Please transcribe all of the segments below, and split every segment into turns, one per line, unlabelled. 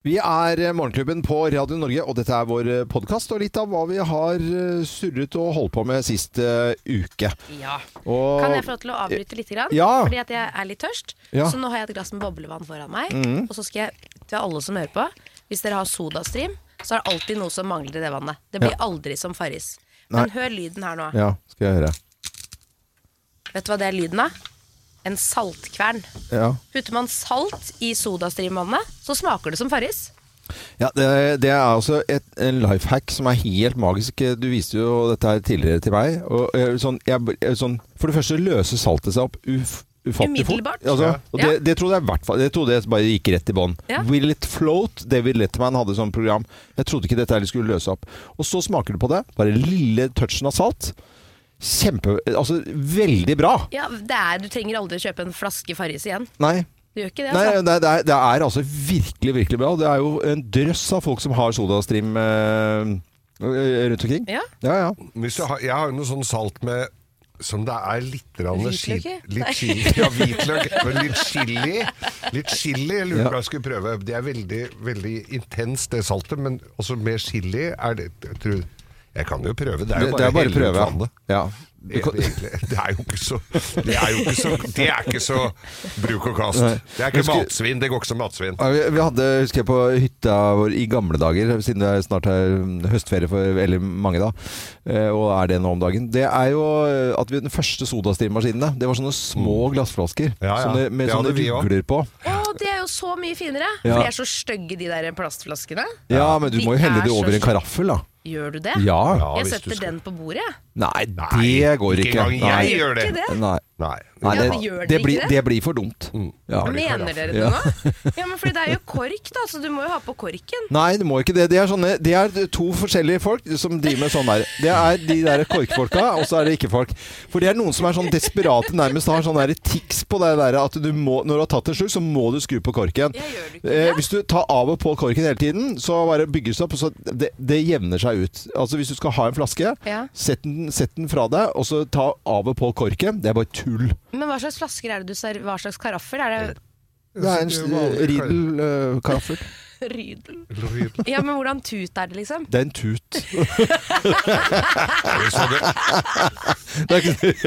Vi er eh, Morgenklubben på Radio Norge, og dette er vår podkast og litt av hva vi har eh, surret og holdt på med sist eh, uke.
Ja.
Og,
Kan jeg få lov til å avbryte litt? Grann?
Ja.
Fordi at jeg er litt tørst.
Ja. Mm.
Så nå har jeg et glass med boblevann foran meg. Og så skal jeg til alle som hører på, hvis dere har sodastream, så er det alltid noe som mangler i det vannet. Det blir
Ja.
aldri som Farris.
Nei.
Men hør lyden her nå.
Ja, skal jeg høre.
Vet du hva det er lyden av? En saltkvern.
Ja.
Putter man salt i sodastreamvannet, så smaker det som Farris.
Ja, det, det er altså et, en life hack som er helt magisk. Du viste jo dette her tidligere til meg. Og jeg, sånn, jeg, jeg, sånn, for det første løser saltet seg opp uf, ufattelig fort.
Umiddelbart.
Altså,
Ja.
og det,
Ja.
det trodde jeg i hvert fall Det trodde jeg bare gikk rett i bånn.
Ja.
Will it float? David Letterman hadde sånn program. Jeg trodde ikke dette her skulle løse opp. Og så smaker det på det. Bare lille touchen av salt. Kjempe Altså veldig bra.
Ja, det er, Du trenger aldri kjøpe en flaske Farris igjen.
Nei.
Du gjør ikke det.
Nei,
Altså.
det, det, er, det er altså virkelig, virkelig bra. Det er jo en drøss av folk som har sodastream eh, rundt omkring.
Ja.
Ja, ja.
Hvis jeg, har, jeg har jo noe sånn salt med som det er litt grann
Hvitløk
chi-
i? Nei.
Litt chili, ja, hvitløk, men litt chili. Litt chili jeg lurer
Ja.
på om jeg skulle prøve. Det er veldig, veldig intenst, det saltet, men også med chili er det Jeg, tror, jeg kan jo prøve. Det er
Det,
jo
det er bare å
å helle ut
prøve.
vannet.
Ja.
Det, det, det er jo ikke så Det er jo ikke så, det er ikke så bruk og kast.
Nei.
Det er
Men
ikke
skulle-
matsvinn. Det går ikke som matsvinn.
Ja, Vi vi hadde, husker jeg, på hytta vår i gamle dager, siden det er snart er mm, høstferie for veldig mange da, eh, og er det nå om dagen, det er jo eh, at vi, den første sodastream-maskinene, det var sånne små glassflasker
Mm. Ja, ja.
sånne- med
Det hadde
sånne
vi også.
rugler på.
Å, det er jo så mye finere!
Ja.
For de er så stygge, de der plastflaskene.
Ja, men du
De
må jo helle
er
det over
så
en karaffel da.
Gjør du det?
Ja.
Ja,
jeg
hvis du
setter
skal-
den på bordet, jeg.
Nei, det går ikke.
engang jeg
Nei.
gjør det.
Ikke det?
Nei.
Nei.
Nei,
Ja,
det,
men gjør
det,
dere ikke
blir,
det?
det blir for dumt. Ja.
Mener dere det
Ja.
nå? Ja, men fordi det er jo kork, da, så du må jo ha på korken.
Nei, du må ikke det. Det er, sånne, det er to forskjellige folk som driver med sånn der. Det er de der korkfolka, og så er det ikke-folk. For det er noen som er sånn desperate, nærmest har sånn der tics på det der at du må, når du har tatt en slurk, så må du skru på korken.
Jeg gjør det ikke,
Eh,
ja.
hvis du tar av og på korken hele tiden, så bare bygges det opp, og så det, det jevner seg ut. Altså hvis du skal ha en flaske,
Ja.
sett, den, sett den fra deg, og så ta av og på korken. Det er bare tull.
Men hva slags flasker er det du ser? Hva slags karaffer? Er
Det er en eh, sl- Riedel-karaffel.
det Eh, rydel?
Riedel.
Ja, men hvordan tut er det, liksom?
Det er en tut.
Hvis hadde-
Det er,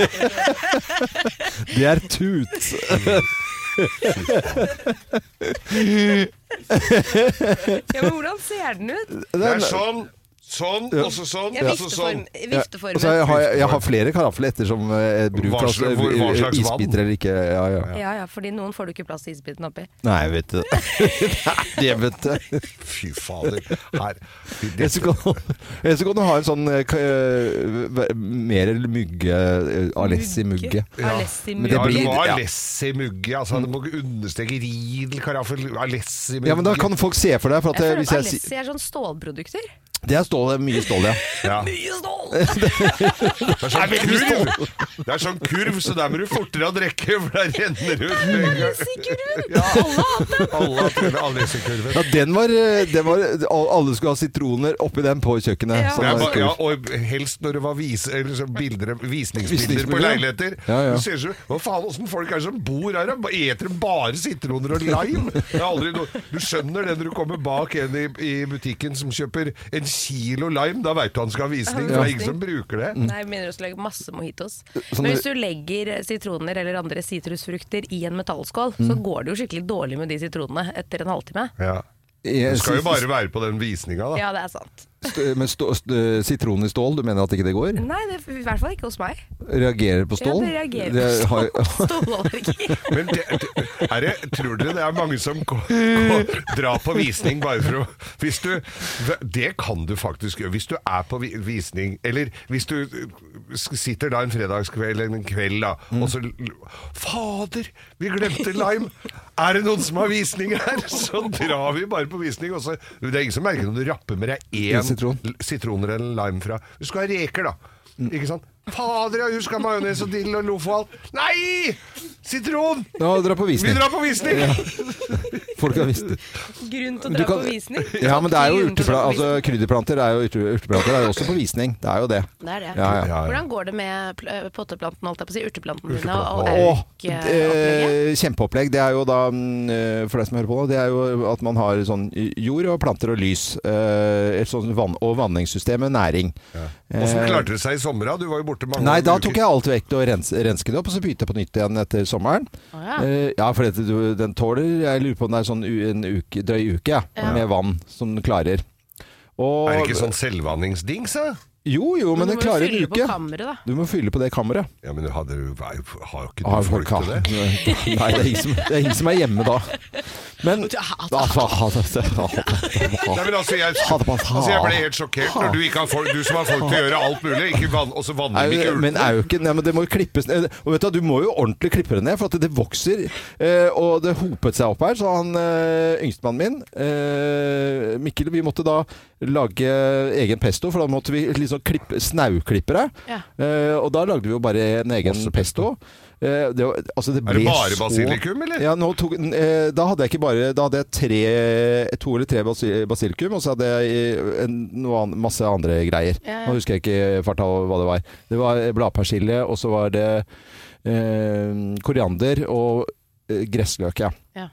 ikke... det er tut.
Mm.
Ja, men hvordan ser den ut?
Det er sånn, sånn, og så sånn,
Ja,
og så sånn.
vifteform, vifteformen.
Og så har jeg, jeg har flere karafler etter som eh, bruk
Hva
av
slags- hvor- hva slags vann?
isbiter eller ikke. Ja, ja.
Ja, ja, fordi noen får du ikke plass til isbiten oppi.
Nei, vet du. Nei, det vet du.
Fy fader. Her.
Jeg skulle jeg skulle kunne ha en sånn eh, ka- eh, mer eller mugge eh, Alessi-mugge.
Ja.
Alessi
Men
Det
det
ja,
Mugge.
det
blir-
var
ja.
Alessi-mugge. Altså, du må ikke understreke Riedel-karaffel. Alessi-mugge.
Ja, men da kan folk se for deg. For at,
Jeg
eh,
føler
hvis
at
jeg, si-
Alessi er sånn stålprodukter.
det er stål, det er mye stål, ja.
ja.
Mye stål!
Det er sånn kurv, det er sånn kurv så der må du fortere å drikke, for der renner det ut med en gang.
Alessi-kurven!
Ja.
Alle har hatt den!
Alle har prøvd Alessi-kurven.
ja den var, eh, den var Alle skulle ha sitroner oppi den på kjøkkenet.
Ja.
Sånn
Det er
der
bare,
stor.
ja, og helst når det var vis, eller så bilder, visningsbilder på
Visningsbilder, ja.
leiligheter.
Ja, ja.
Du ser så, Hva faen, åssen folk er det som bor her? da? Ba- Eter de bare sitroner og lime? Det er aldri noe- du skjønner det når du kommer bak en i, i butikken som kjøper en kilo lime. Da veit du han skal ha visning, for det er ingen som bruker det.
Mm.
Nei, jeg begynner også å lage masse mojitos.
Sånn
Men
det-
hvis du legger eh, sitroner eller andre sitrusfrukter i en metallskål, så
Mm.
går det jo skikkelig dårlig med de sitronene etter en halvtime.
Ja.
Jeg
Du skal jo
synes-
bare være på den visninga, da.
Ja, det er sant.
Eh, St- Men stå, st sitron i stål, du mener at ikke det går?
Nei, det er i hvert fall ikke hos meg.
Reagerer på
Ja,
stål?
det reagerer
Det
på
har-
stål. Stålallergi.
Men det, det, er det, tror dere det er mange som går, går, drar på visning bare for å hvis du, Det kan du faktisk gjøre. Hvis du er på vi- visning, eller hvis du s- sitter da en fredagskveld eller en kveld, da, og så l- Fader, vi glemte lime! Er det noen som har visning her? Så drar vi bare på visning. Og så, det er ingen som merker når du rapper med deg én
En sitron.
l- sitroner eller en lime fra Du skal ha reker, da. Ikke sant? Fader, jeg husker majones og dill og loff og alt. Nei! Sitron!
Nå dra på
Vi
visning.
drar på visning!
Folk har visst
Grunn til å
Du
dra
kan-
på visning.
Ja, men det er jo
Grunn til å
urtepla
dra på
altså, krydderplanter er jo urte- urteplanter er jo også på visning. Det er jo det.
visning. Det er det.
altså- Ja,
Ja,
ja.
ja.
Hvordan går det med pl- eh, potteplanten, holdt jeg på å si, urteplanten dine
Urteplanten.
og
Åh,
auropplegget?
eh, kjempeopplegg. Det er jo da, mm, for deg som hører på nå, det er jo at man har sånn jord og planter og lys. eh, Et sånt vann, og vanningssystem med næring. Eh,
Åssen klarte det seg i sommer? da? Du var jo borte mange
Nei, da tok jeg alt vekk og rens, renske det opp, og så begynte jeg på nytt igjen etter sommeren.
Å, ja.
Eh, ja, for dette, du, den tåler Jeg lurer på om det er sånn u, en uke, drøy uke ja,
Ja.
med vann som den klarer. Og,
Er det ikke sånn selvvanningsdings, da?
Jo, jo, men
du
den
må jo
klarer en
fylle
uke.
på kammeret, da.
Du må fylle på det kammeret.
Ja, men du hadde, har jo har jo ikke
Ah,
noe folk til det.
Nei, det er, ingen som, det er ingen som er hjemme da. Men Ah, fa- ha det, ha det, ha det.
Nei, men altså, jeg,
Ha det på-
altså, jeg ble helt sjokkert når du ikke har folk, du som har folk til å gjøre alt mulig, ikke vann, og så vanner vi ikke
Au, Men
urtene.
auken Nei, men det må jo klippes ned. Og vet du, du må jo ordentlig klippe det ned, for at det vokser. Eh, og det hopet seg opp her. Så han eh, yngstemannen min, eh, Mikkel, vi måtte da lage egen pesto, for da måtte vi liksom klippe, snauklippe det.
Ja.
Eh, og da lagde vi jo bare en egen
Masse
pesto. Eh, det var, altså det
Er det
ble
bare
så-
basilikum, eller?
Ja, nå tok, eh, da hadde jeg ikke bare Da hadde jeg tre, to eller tre basi- basilikum, og så hadde jeg eh, en, noe an, masse andre greier.
Ja, ja.
Nå husker jeg ikke i farta hva det var. Det var bladpersille, og så var det eh, koriander og eh, gressløk, ja.
Ja.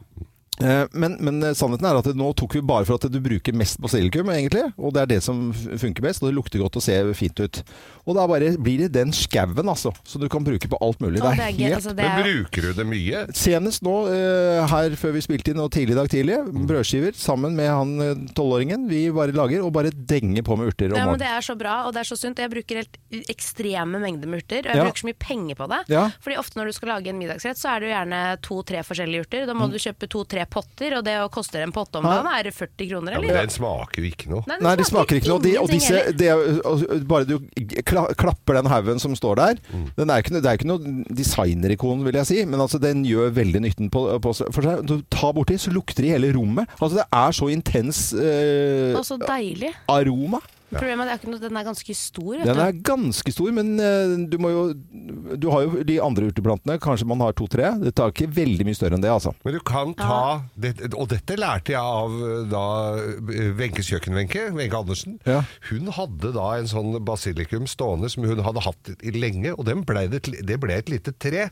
Eh, Men, men sannheten er at det, nå tok vi bare for at du bruker mest basilikum, egentlig. Og det er det som f- funker best, og det lukter godt og ser fint ut. Og da bare blir det den skauen, altså. Så du kan bruke på alt mulig.
Å,
det
det
er
er gøy,
helt
altså, det
Men
er jo-
bruker du det mye?
Senest nå, eh, her før vi spilte inn og tidlig i dag tidlig,
Mm.
brødskiver sammen med han eh, tolvåringen. Vi bare lager og bare denger på med urter om
Ja, men
morgenen.
Det er så bra og det er så sunt. Jeg bruker helt ekstreme mengder med urter, og jeg
Ja.
bruker så mye penger på det.
Ja.
Fordi ofte når du skal lage en middagsrett, så er det jo gjerne to-tre forskjellige urter. Da må du kjøpe to-tre potter, og det å koster en potte om
Mm. Ja.
dagen er det 40 kroner,
Ja,
eller?
men den smaker jo ikke noe.
Nei, den
Nei, de smaker ikke noe. De, og
ingenting
disse,
heller.
det, er jo- og- og bare du kla, klapper den haugen som står der
Mm.
den er jo ikke, noe- Det er jo ikke noe designerikon, vil jeg si, men altså, den gjør veldig nytten på, på seg- for seg. Du tar borti, så lukter det i hele rommet. Altså, det er så intens eh,
Å, så deilig.
aroma.
Altså, Problemet er at det er ikke noe, den er ganske stor. Vet
Den
du.
er ganske stor, men eh, du må jo Du har jo de andre urteplantene, kanskje man har to-tre. Det tar ikke veldig mye større enn det, altså.
Men du kan ta det, Og dette lærte jeg av eh, da eh, Wenches kjøkken-Wenche, Wenche Andersen.
Ja.
Hun hadde da en sånn basilikum stående som hun hadde hatt i lenge, og den ble det, til- det ble et lite tre.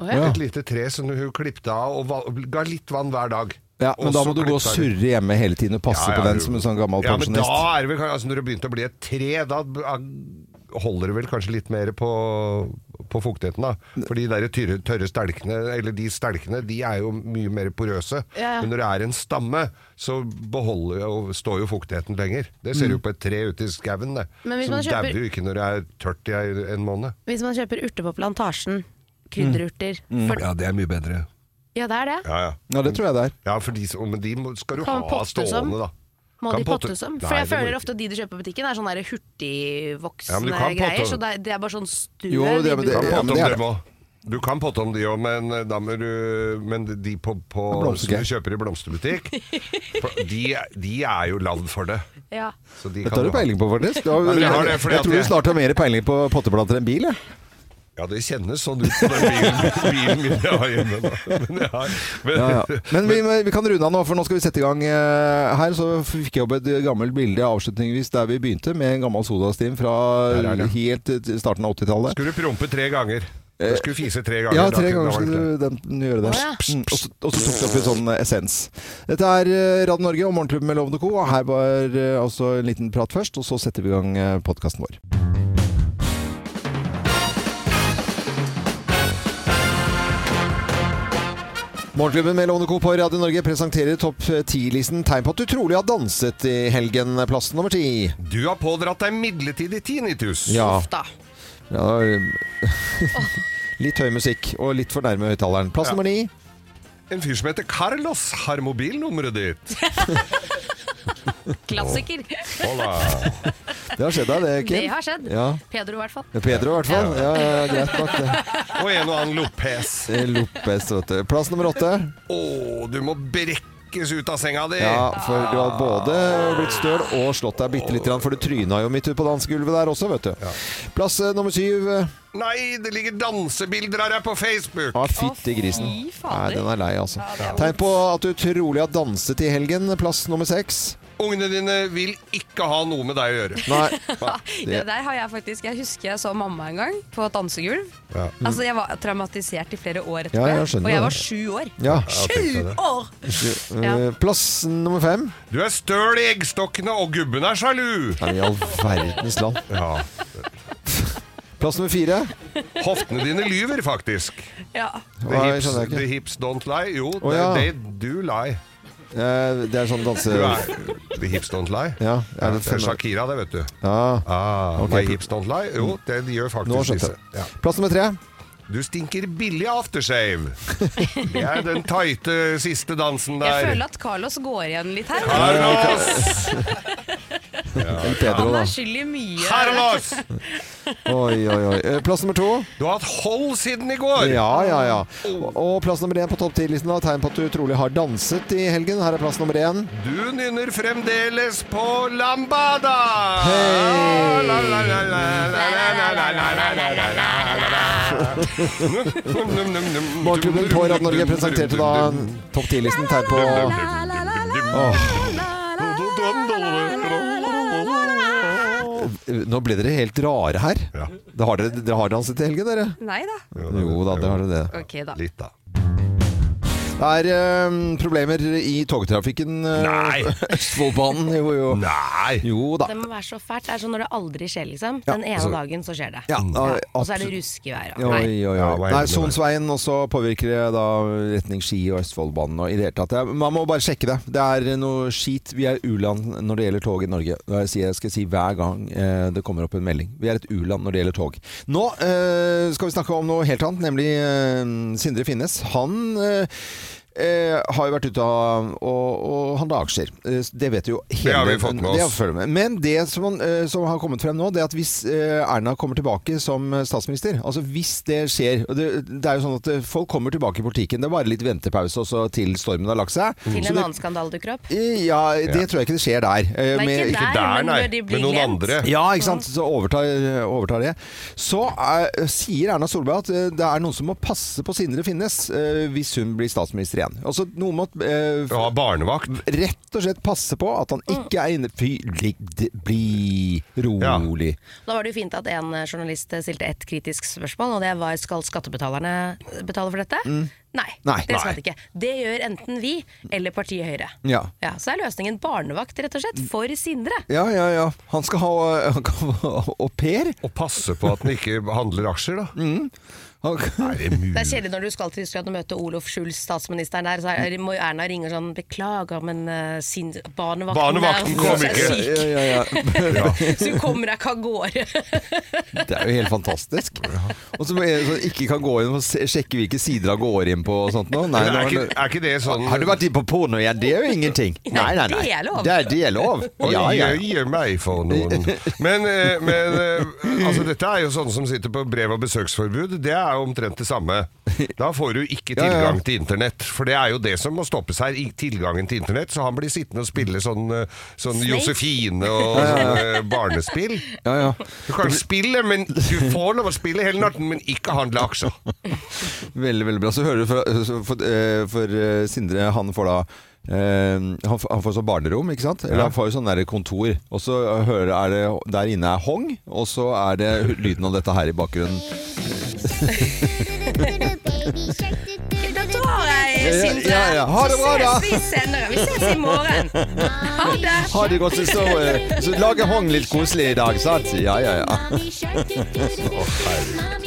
Å,
Ja.
Et lite tre som hun klippte av og va ga litt vann hver dag.
Ja, men
Og
da
så
må du gå og
klippte hun-
surre hjemme hele tiden og passe
Ja, ja,
på den
du-
som en sånn gammel
ja,
pensjonist.
Men da er det vel, kan- altså, når det begynte å bli et tre, da b- a- holder det vel kanskje litt mer på, på fuktigheten. da. For de der tørre, tørre stelkene, eller de stelkene, de er jo mye mer porøse.
Ja, ja.
Men når det er en stamme, så beholder og står jo fuktigheten lenger. Det ser du
Mm.
jo på et tre ute i skauen. det.
Men hvis
Så
man
dauer
kjøper-
jo ikke når det er tørt i ei- en måned.
Hvis man kjøper urter på plantasjen, krydderurter
Mm.
for,
Ja, det er mye bedre.
Ja, det er det.
Ja, ja.
Ja, det tror jeg det er.
Ja, for de, som- men de må- skal du
Kan
ha
potte som?
stående, da.
Må
Kan
de
potte-
potte som?
Nei,
For
det
jeg
må
føler
du
ofte de du kjøper på butikken, er sånn der
Ja,
hurtigvoksende
men du kan potte-
greier. Så det er, det er bare sånn stue.
Jo, det-
de
men
Du kan
bruker.
Ja,
potte om
det er
dem òg. Du kan potte om de òg, men eh, da må du Men de på, på som
Blomstergøy.
du kjøper i blomsterbutikk, for de, de er jo lagd for det.
Ja.
Så de
Dette
kan
har du
ha.
peiling på, faktisk. Du har,
Nei, men jeg har det
jeg,
fordi at
tror du
jeg-
snart har mer peiling på potteplanter enn bil, jeg.
Ja, det kjennes sånn ut på den bilen, bilen min jeg har hjemme. Da. Men jeg har, men,
Ja, ja. Men vi, vi kan runde av nå, for nå skal vi sette i gang eh, her. Så fikk jeg opp et gammelt bilde avslutningsvis der vi begynte, med en gammel sodastream fra
Der er det.
helt til starten av 80-tallet.
Skulle du prompe tre ganger? Du skulle fise tre ganger?
Eh, Ja,
da-
tre
da var
ganger
det
skulle
klart.
du den, den gjøre det.
Å, ja.
Mm, Og så og så tok du opp litt sånn essens. Dette er eh, Radio Norge og Morgenklubben med Lovende Co. Og her var eh, altså en liten prat først, og så setter vi i gang podkasten vår. Morgenklubben med Lovende Co. på Radio Norge presenterer topp 10-listen tegn på at du trolig har danset i helgen. eh, Plass nummer ti.
Du har pådratt deg midlertidig tinnitus.
Ja.
Uff da.
ja det var- Litt høy musikk og litt for nærme høyttaleren. Plass
Ja.
nummer ni.
En fyr som heter Carlos, har mobilnummeret ditt.
Klassiker.
Hola.
Det har skjedd deg, det, Kim?
Det har skjedd.
Ja.
Pedro, i hvert fall.
Med Pedro, i hvert fall. Ja, ja, ja, greit nok. det. Eh,
Og en og annen Lopez.
Det er Lopez, vet du. Plass nummer åtte.
Å, du må brekke jekkes ut av senga di!
Ja, for du har både blitt støl og slått deg bitte litt, for du tryna jo midt ute på dansegulvet der også, vet du. Plass eh, nummer syv. eh,
Nei, det ligger dansebilder av deg på Facebook!
Ja, fytti grisen.
fy
Nei,
fader.
den er lei, altså.
det er
Tegn på at du trolig har danset i helgen. Plass nummer seks.
Ungene dine vil ikke ha noe med deg å gjøre.
Nei.
Det der har jeg faktisk Jeg husker jeg så mamma en gang på et dansegulv.
Ja.
Altså Jeg var traumatisert i flere år etterpå.
Mm. Ja, jeg skjønner
og jeg
det.
var sju år.
Ja.
tenkte
Sju
det.
år!
Eh, Plass nummer fem.
Du er støl i eggstokkene, og gubben er sjalu!
Nei, I all verdens land.
Ja.
Plass nummer fire.
Hoftene dine lyver, faktisk.
Ja.
The
Nei,
hips,
skjønner jeg ikke.
the hips don't lie. Jo,
Å, ja.
they do lie.
Eh, Det er sånn danse...
Du er, the hips don't lie.
Ja, er det
det er
sånn-
Shakira, det, vet du.
Ja,
Ah,
Ok. Mm.
my hips don't lie. Jo, det gjør faktisk
nå skjønte
disse. Ja.
jeg. Plass nummer tre.
Du stinker billig aftershave. Det er den tighte siste dansen
Jeg
der.
føler at Carlos går igjen litt her.
Carlos!
Eller Pedro,
Han
da.
er skyld i mye.
Carlos!
Oi, oi, oi. Eh, Plass nummer to.
Du har hatt hold siden i går!
Ja, ja, ja. Og- Og plass nummer én på topp ti-listen. da. Tegn på at du trolig har danset i helgen. Her er plass nummer én.
Du nynner fremdeles på Lambada!
Hei!
La, la, la, la, la, la, la, la, la, la, la, la.
Morgenklubben på Radio Norge presenterte da topp ti-listen. Tegn på Nå ble dere helt rare her.
Ja.
Det har dere, dere har danset i helgen, dere?
Nei da.
Jo da, det har dere det.
Ok, da.
Litt, da.
Det er eh, problemer i togtrafikken. eh,
Nei.
Østfoldbanen, jo jo.
Nei!
Jo da.
Det må være så fælt. Det er sånn når det aldri skjer, liksom.
Ja,
Den ene
altså-
dagen så skjer det.
Ja, ja,
Og så er det
absolutt.
ruskevær. og- Nei.
Oi, oi,
Ja, hva
oi.
er det
Nei,
med
Sonsveien, og så påvirker det da retning Ski og Østfoldbanen. Og i det hele tatt. Det er- Man må bare sjekke det. Det er noe skit. Vi er u-land når det gjelder tog i Norge. Det sier jeg skal si hver gang eh, det kommer opp en melding. Vi er et u-land når det gjelder tog. Nå eh, skal vi snakke om noe helt annet, nemlig eh, Sindre Finnes. Han eh, eh, har jo vært ute av og, og handla aksjer. Eh, det vet jo hele
Det har vi fått med oss.
Det har vi følge med. Men det som, han, eh, som har kommet frem nå, det er at hvis eh, Erna kommer tilbake som statsminister, altså hvis det skjer og det, det er jo sånn at eh, folk kommer tilbake i politikken, det er bare litt ventepause og så til stormen har lagt seg.
Til
Mm. Så
en
det-
annen skandale dukker opp.
Eh, Ja, det tror jeg ikke det skjer der. Eh,
Nei,
med-
ikke der,
Der,
men
nei.
når de blir
Men noen
glemt.
andre.
ja, ikke sant? Så overtar, eh, overtar det. Så eh, sier Erna Solberg at eh, det er noen som må passe på Sindre Finnes eh, hvis hun blir statsminister igjen. Altså, noen må eh,
Du har barnevakt.
rett og slett passe på at han ikke er inne Fy, bli, bli rolig.
Da var det jo fint at en eh, journalist eh, stilte ett kritisk spørsmål, og det var skal skattebetalerne eh, betale for dette? Nei,
Mm. Nei.
det skal
Nei.
de ikke. Det gjør enten vi eller partiet Høyre.
Ja.
så er løsningen barnevakt, rett og
Mm.
slett, for Sindre.
Ja, ja, ja. Han skal ha øh, han kan ha au pair.
Og passe på at den ikke handler aksjer, da.
Mm. Han kan-
Er det mulig?
Det er kjedelig når du skal til Tyskland og møte Olof Schulz, statsministeren der, så
Mm.
er, må jo Erna ringe og sånn 'Beklager, men eh, sin, barnevakten,
Barnevakten
er-
kom
er
ikke.»
syk,
Ja, ja, ja.
Så hun kommer deg ikke av gårde.
Det er jo helt fantastisk. Og så må jeg så ikke kan gå inn og se- sjekke hvilke sider han går inn på og sånt noe. Nei,
Men er,
nå har
ikke,
han-
er ikke det sånn
har du vært inne på porno? Ja, det er jo ingenting. Nei, nei, nei.
det er lov.
Det er, det er lov.
Oi,
Ja, ja.
jøye meg for noen. Men, eh, men eh, altså, dette er jo sånne som sitter på brev- og besøksforbud. Det er jo omtrent det samme. Da får du ikke
Ja, ja.
tilgang til internett. For det er jo det som må stoppes her. i- Tilgangen til internett. Så han blir sittende og spille sånn, eh, sånn Josefine og sånne barnespill.
ja, ja.
Du kan spille, men du får lov å spille hele natten, men ikke handle aksjer.
Veldig, veldig bra. Så hører du fra, så for, eh, for eh, Sindre, han får da eh, han, får, han får sånn barnerom, ikke sant? Eller han får jo sånn der kontor. Og så eh, hører er det Der inne er Hong, og så er det lyden av dette her i bakgrunnen.
Da tar jeg
Ja,
Sindre.
ja, ja. Ha det bra, da.
Så ses vi senere. Vi ses i morgen. Ha det.
Ha det godt, så, så, eh, så lager Hong litt koselig i dag, sant? Ja, ja, ja.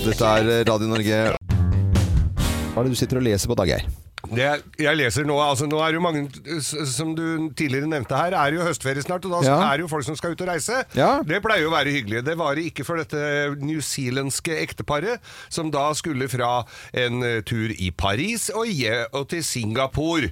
Dette er eh, Radio Norge. Hva er det du sitter og leser på, Daggeir?
Jeg, jeg leser nå, altså nå er det jo mange, s- som du tidligere nevnte her, er det jo høstferie snart, og da
Ja.
er det jo folk som skal ut og reise.
Ja.
Det pleier jo å være hyggelig. Det var det ikke for dette newzealandske ekteparet, som da skulle fra en eh, tur i Paris og, je, og til Singapore.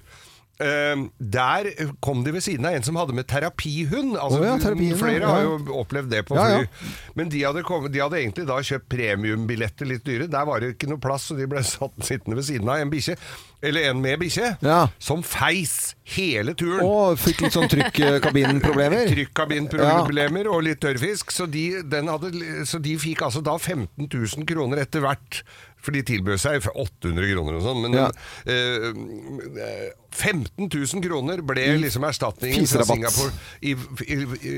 Eh, der kom de ved siden av en som hadde med terapihund. Altså,
Å ja, terapihund,
flere
ja.
har jo opplevd det på fly.
Ja, ja.
Men de hadde, kommet, de hadde egentlig da kjøpt premiumbilletter litt dyre. Der var det ikke noe plass, så de ble satt, sittende ved siden av en bikkje. Eller en med bikkje.
Ja.
Som feis hele turen.
Og fikk litt sånn trykkabinenproblemer.
Trykkabinproblemer og litt tørrfisk. Så de, den hadde, så de fikk altså da 15 000 kroner etter hvert. For de tilbød seg for 800 kroner og sånn. Men
Ja.
eh, eh, 15 000 kroner ble liksom erstatningen fra
fiserabatt.
Singapore i, i, i,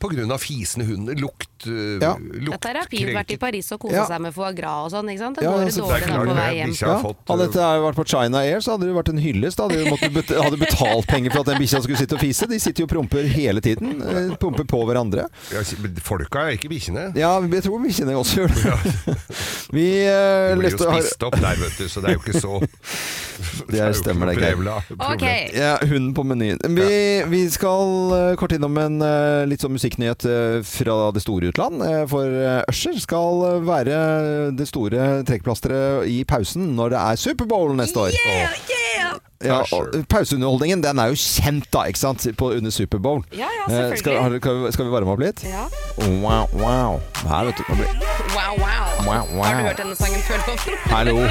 på grunn av fisende hund. Lukt, eh,
Ja.
lukt
Dette har Pim vært i Paris og kosa
Ja.
seg med foie gras og sånn. ikke sant? Det
Ja,
går
Det
så-
jo dårlig
er
da
klart
på
det.
vei hjem.
Bikkja har fått, eh,
hadde dette her vært på China Air, så hadde det vært en hyllest. Da Hadde, de måttet bet hadde betalt penger for at den bikkja skulle sitte og fise. De sitter jo og promper hele tiden. eh, Promper på hverandre.
Ja, men Folka, ikke bikkjene.
Ja, men jeg tror bikkjene også gjør det. Vi eh,
De blir jo
leste har-
spist opp der, vet du, så det er jo ikke så
Det
er jo
stemmer,
ikke
det, Geir.
noe problem.
Ok.
ja, hunden på menyen. Vi, vi skal eh, kort innom en eh, litt sånn musikknyhet eh, fra det store utland. eh, For eh, Usher skal eh, være det store trekkplasteret i pausen når det er Superbowl neste år.
Yeah, yeah!
Ja, og pauseunderholdningen den er jo kjent da, ikke sant? På, under Superbowl.
Ja, ja,
Eh,
selvfølgelig.
skal, har, dere- skal, vi- skal vi varme opp litt?
Ja.
Wow, wow. Her, vet du. nå blir-
Wow, wow.
Wow, wow.
Har du hørt denne sangen før, Loven?
Hallo.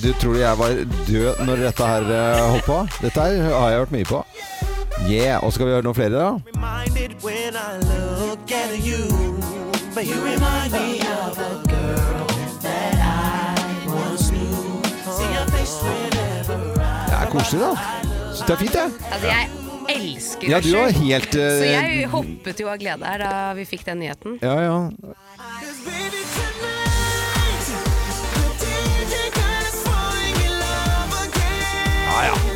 Du tror jeg var død når dette her eh, holdt på? Dette her har jeg hørt mye på. Yeah. Og skal vi høre noen flere, da?
reminded when I look at you. But you remind me of a girl that I once knew. See your face whenever
Det er koselig, da. Syns det er fint, jeg.
Altså, jeg elsker
Ja, du var
Usher.
helt
Så
eh,
jeg hoppet jo av glede her da vi fikk den nyheten.
Ja, ja.
Cause baby tonight, the DJ got us falling in love again.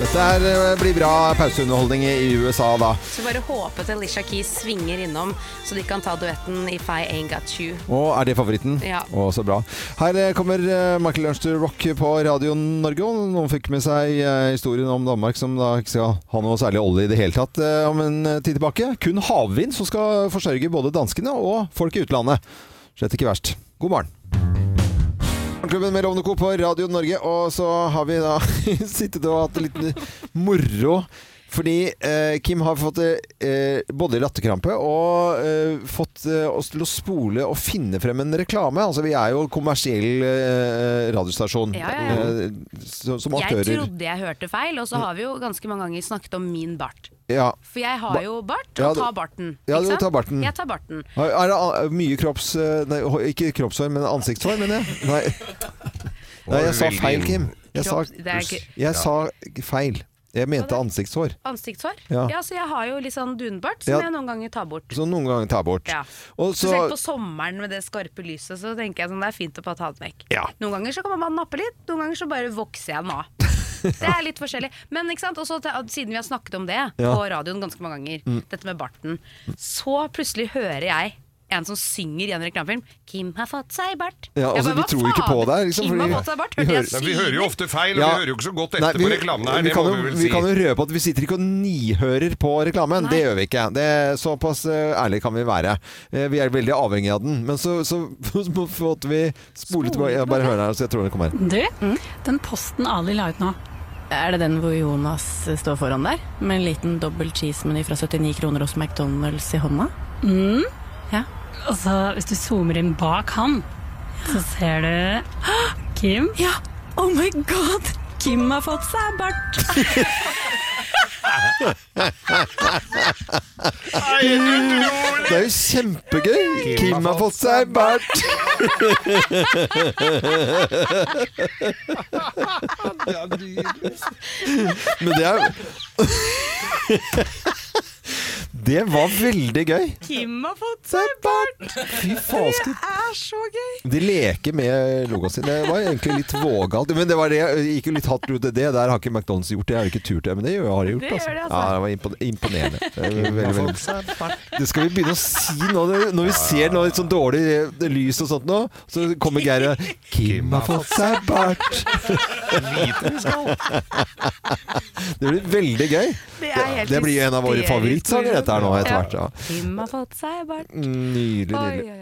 Dette her eh, blir bra pauseunderholdning i USA, da.
Så bare håpet Alicia Keys svinger innom, så de kan ta duetten If I Ain't Got You.
Og er det favoritten?
Ja.
Å, så bra. Her eh, kommer eh, Michael Ernst Rock på Radio Norge. Og noen fikk med seg eh, historien om Danmark som da ikke skal ha noe særlig olje i det hele tatt eh, om en eh, tid tilbake. Kun havvind som skal forsørge både danskene og folk i utlandet. Slett ikke verst. God morgen. Morgenklubben med Lovende Co. på Radio Norge, og så har vi da sittet og hatt litt moro. Fordi eh, Kim har fått eh, både latterkrampe og eh, fått eh, oss til å spole og finne frem en reklame. Altså vi er jo kommersiell eh, radiostasjon
Ja, ja, ja.
Eh, så, som
Jeg
aktører.
trodde jeg hørte feil, og så har vi jo ganske mange ganger snakket om min bart.
Ja.
For jeg har
Ba-
jo bart, og
Ja, du-
tar barten.
Ja,
ikke
du
sant?
tar barten.
Jeg tar barten.
Er er det a- mye kropps... eh, Nei, hå- ikke kroppshår, men ansiktshår, mener jeg. Nei, nei jeg sa
Veldig
feil,
inn-
Kim. Jeg sa,
Kropp- det er ikke
jeg sa feil. Jeg mente ansiktshår.
ansiktshår.
Ja.
Ja. så jeg har jo litt sånn dunbart som
Ja.
jeg noen ganger tar bort.
Som noen ganger tar bort.
Ja.
Og så,
Spesielt på sommeren med det skarpe lyset, så tenker jeg sånn, det er fint å bare ta den vekk.
Ja.
Noen ganger så kan man bare nappe litt, noen ganger så bare vokser jeg den av. Det er litt forskjellig. Men ikke sant? Også, til- siden vi har snakket om det
Ja. Mm.
på radioen ganske mange ganger, dette med barten, så plutselig hører jeg en som synger i en reklamefilm 'Kim har fått seg bart'.
Ja,
Jeg
altså, de
bare, "Hva
tror ikke på
faen?
det, liksom,
Kim har
fordi-
fått seg bart,
vi
hørte
hører-
jeg
Men vi hører jo ofte feil, og
Ja.
vi hører jo ikke så godt
Nei,
etter
vi-
på reklamene her.
Vi
Det må
kan, jo,
vi vel
vi
si.
kan jo røpe at vi sitter ikke og nihører på reklamen. Det gjør vi ikke. Det, såpass eh, ærlig kan vi være. Eh, Vi er veldig avhengig av den. Men så, så, så måtte vi spole tilbake. Jeg bare hører her, så jeg tror den kommer.
Du, den posten Ali la ut nå. Er det den hvor Jonas eh, står foran der? Med en liten dobbel cheesemeny fra 79 kroner hos McDonald's i hånda?
Mm.
Ja.
Og så Altså, hvis du zoomer inn bak han, så ser du Kim.
Ja! Oh my god! Kim har fått seg bart!
Det er jo kjempegøy! Kim har fått seg bart! Men det er Det var veldig gøy.
Kim har fått
seg bart! Fy fasken.
er så gøy!
De leker med logoen sin. Det var egentlig litt vågalt. Men det var det, jeg gikk jo litt hardt ut i det. Der har ikke McDonald's gjort det. Jeg har ikke turt det, men det gjør- har de gjort.
Det gjør de, altså.
Ja, det var impon- imponerende. Det er Veldig, veldig. Det skal vi begynne å si nå. det- Når vi ser noe litt sånn dårlig eh, lys og sånt nå, så kommer Geir og Kim har fått seg bart. Det blir veldig gøy.
Det er helt
Det blir en av våre
hysterisk.
favorittsanger dette her nå etter
Ja.
hvert. Ja.
Kim har fått seg bart.
Nydelig, nydelig.
Oi, oi, oi.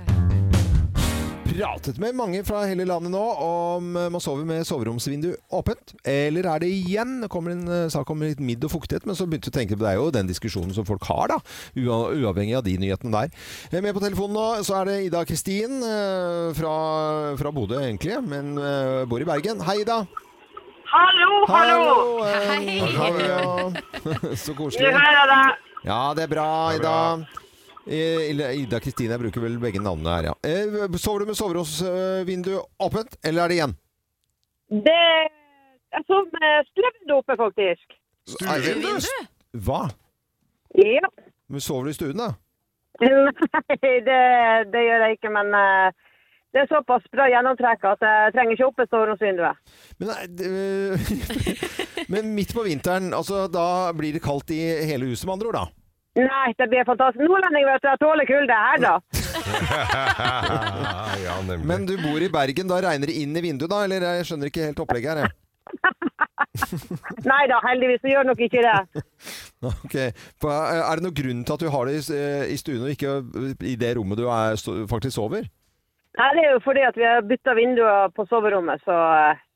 pratet med mange fra hele landet nå om eh, man sover med soveromsvindu åpent. Eller er det igjen? Det kommer en eh, sak om litt midd og fuktighet, men så begynte jeg å tenke på det er jo den diskusjonen som folk har, da. Ua- Uavhengig av de nyhetene der. Eh, Med på telefonen nå så er det Ida Kristin eh, fra, fra Bodø, egentlig, men eh, bor i Bergen. Hei, Ida.
Hallo, hallo!
eh,
Hei.
ja. Så
Du
koselig.
hører det.
Ja, det er bra,
Det er
Ida.
bra.
Eh, Ida- Ida Kristine, jeg bruker vel begge navnene her, ja. Eh, Sover du med soveromsvindu åpent, eller er det igjen?
det jeg sov med stuen eh, oppe, faktisk.
Stuevindu? Hva?
Ja.
Men Sover du i stuen, da?
Nei, det, det gjør jeg ikke, men eh, det er såpass bra gjennomtrekk at jeg trenger ikke oppe soveromsvinduet.
Men, nei, det- men midt på vinteren, altså da blir det kaldt i hele huset, med andre ord, da?
Nei, det blir fantastisk. Nordlending, vet du, jeg tåler kulde her, da.
ja, nemlig.
Men du bor i Bergen, da regner det inn i vinduet, da? Eller jeg skjønner ikke helt opplegget her, jeg.
Nei da, heldigvis så gjør nok ikke det.
Ok. For, eh, Er det noen grunn til at du har det i s- eh, i stuen og ikke eh, i det rommet du er, sto- faktisk sover?
Nei, det er jo fordi at vi har bytta vinduer på soverommet, så eh,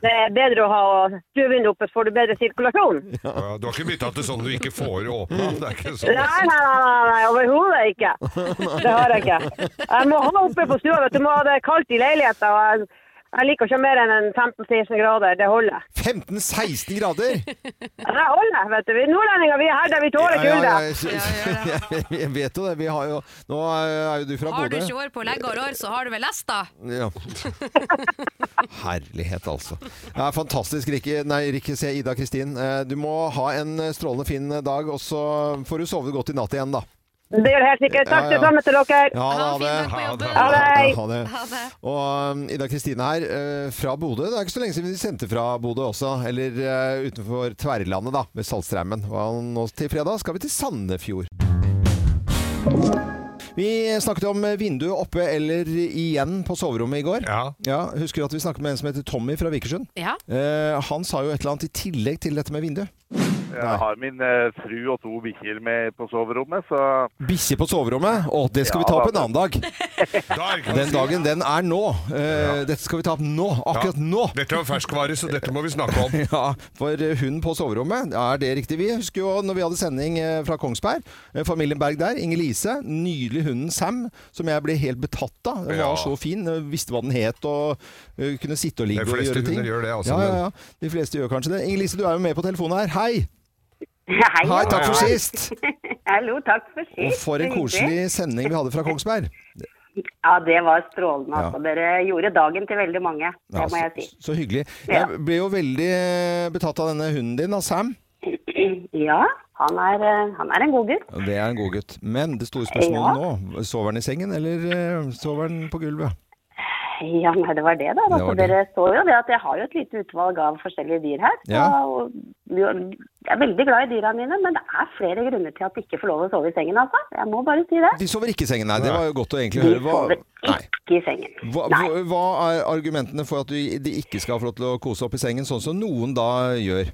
det er bedre å ha stuevinduet oppe, så får du bedre sirkulasjon.
Ja, du har ikke bytta til sånn du ikke får åpna? Det er ikke sånn.
Nei, nei, nei, nei, nei overhodet ikke. Det har jeg ikke. Jeg må ha oppe på stua. vet Du Du må ha det kaldt i leiligheten. Og jeg, jeg liker ikke mer enn en 15-16 grader. Det holder.
15-16 grader!
Det holder, vet du. Vi nordlendinger vi er her der vi tåler
Ja,
kulde.
ja, jeg- Jeg vet jo det. Vi har jo, nå er jo du fra
Har du
Bodø.
ikke år på leggeår, så har du vel lest, da?
Ja. Herlighet, altså. Det er fantastisk, Rikke. Nei, Rikke, se Ida Kristin. Eh, Du må ha en strålende fin dag, og så får du sove godt i natt igjen, da.
Det gjør det helt sikkert.
Ja,
Takk
ja.
det samme til dere.
Ja,
Ha en fin dag på
Ha det.
jobben.
Ha det.
Ha det. Og um, Ida Kristine her, eh, fra Bodø. Det er ikke så lenge siden vi sendte fra Bodø også. Eller eh, utenfor Tverrlandet, da, ved Saltstraumen. Og nå til fredag skal vi til Sandefjord. Vi snakket om eh, vinduet oppe eller igjen på soverommet i går.
Ja.
Ja, Husker du at vi snakket med en som heter Tommy fra Vikersund?
Ja.
Eh, han sa jo et eller annet i tillegg til dette med vindu.
Jeg har min eh, fru og to bikkjer med på soverommet, så
Bikkje på soverommet? Å, det skal vi ta
Ja,
opp en
da.
annen dag.
Da er det ikke
Den
noe å si.
dagen, den er nå. Eh, Dette skal vi ta opp nå. Akkurat
Ja.
nå.
Dette er jo ferskvare, så dette må vi snakke om.
Ja, for hun på soverommet, ja, er det riktig? Vi husker jo når vi hadde sending eh, fra Kongsberg, eh, familien Berg der, Inger-Lise, nydelig hunden Sam, som jeg ble helt betatt av. Hun
Ja.
var så fin, eh, visste hva den het og eh, kunne sitte og ligge
De
og
fleste
gjøre ting.
hunder gjør det, altså,
Ja, ja, ja. De fleste gjør kanskje det. Inger-Lise, du er jo med på telefonen her. Hei!
Hei,
Hei, takk for
ja.
sist!
Hallo, takk for sist.
Og for
Så
en
hyggelig.
koselig sending vi hadde fra Kongsberg.
Ja, det var strålende.
Ja.
altså. Dere gjorde dagen til veldig mange, det må jeg si.
så, så hyggelig.
Ja.
Jeg ble jo veldig eh, betatt av denne hunden din, av Sam.
Ja, han er, eh, han er en god gutt.
Det er en god gutt. Men det store spørsmålet nå, sover han i sengen, eller eh, sover han på gulvet?
Ja, nei, det var det, da.
Det
Altså,
var det.
Dere så jo det at jeg har jo et lite utvalg av forskjellige dyr her. Så,
Ja.
og jeg er veldig glad i dyra mine, men det er flere grunner til at de ikke får lov å sove i sengen, altså. Jeg må bare si det.
De sover ikke i sengen, nei. Det var jo godt å egentlig
De
høre.
sover
Hva, nei.
ikke i sengen.
Hva,
Nei.
hva- hva er argumentene for at du- de ikke skal få lov til å kose opp i sengen, sånn som noen da gjør?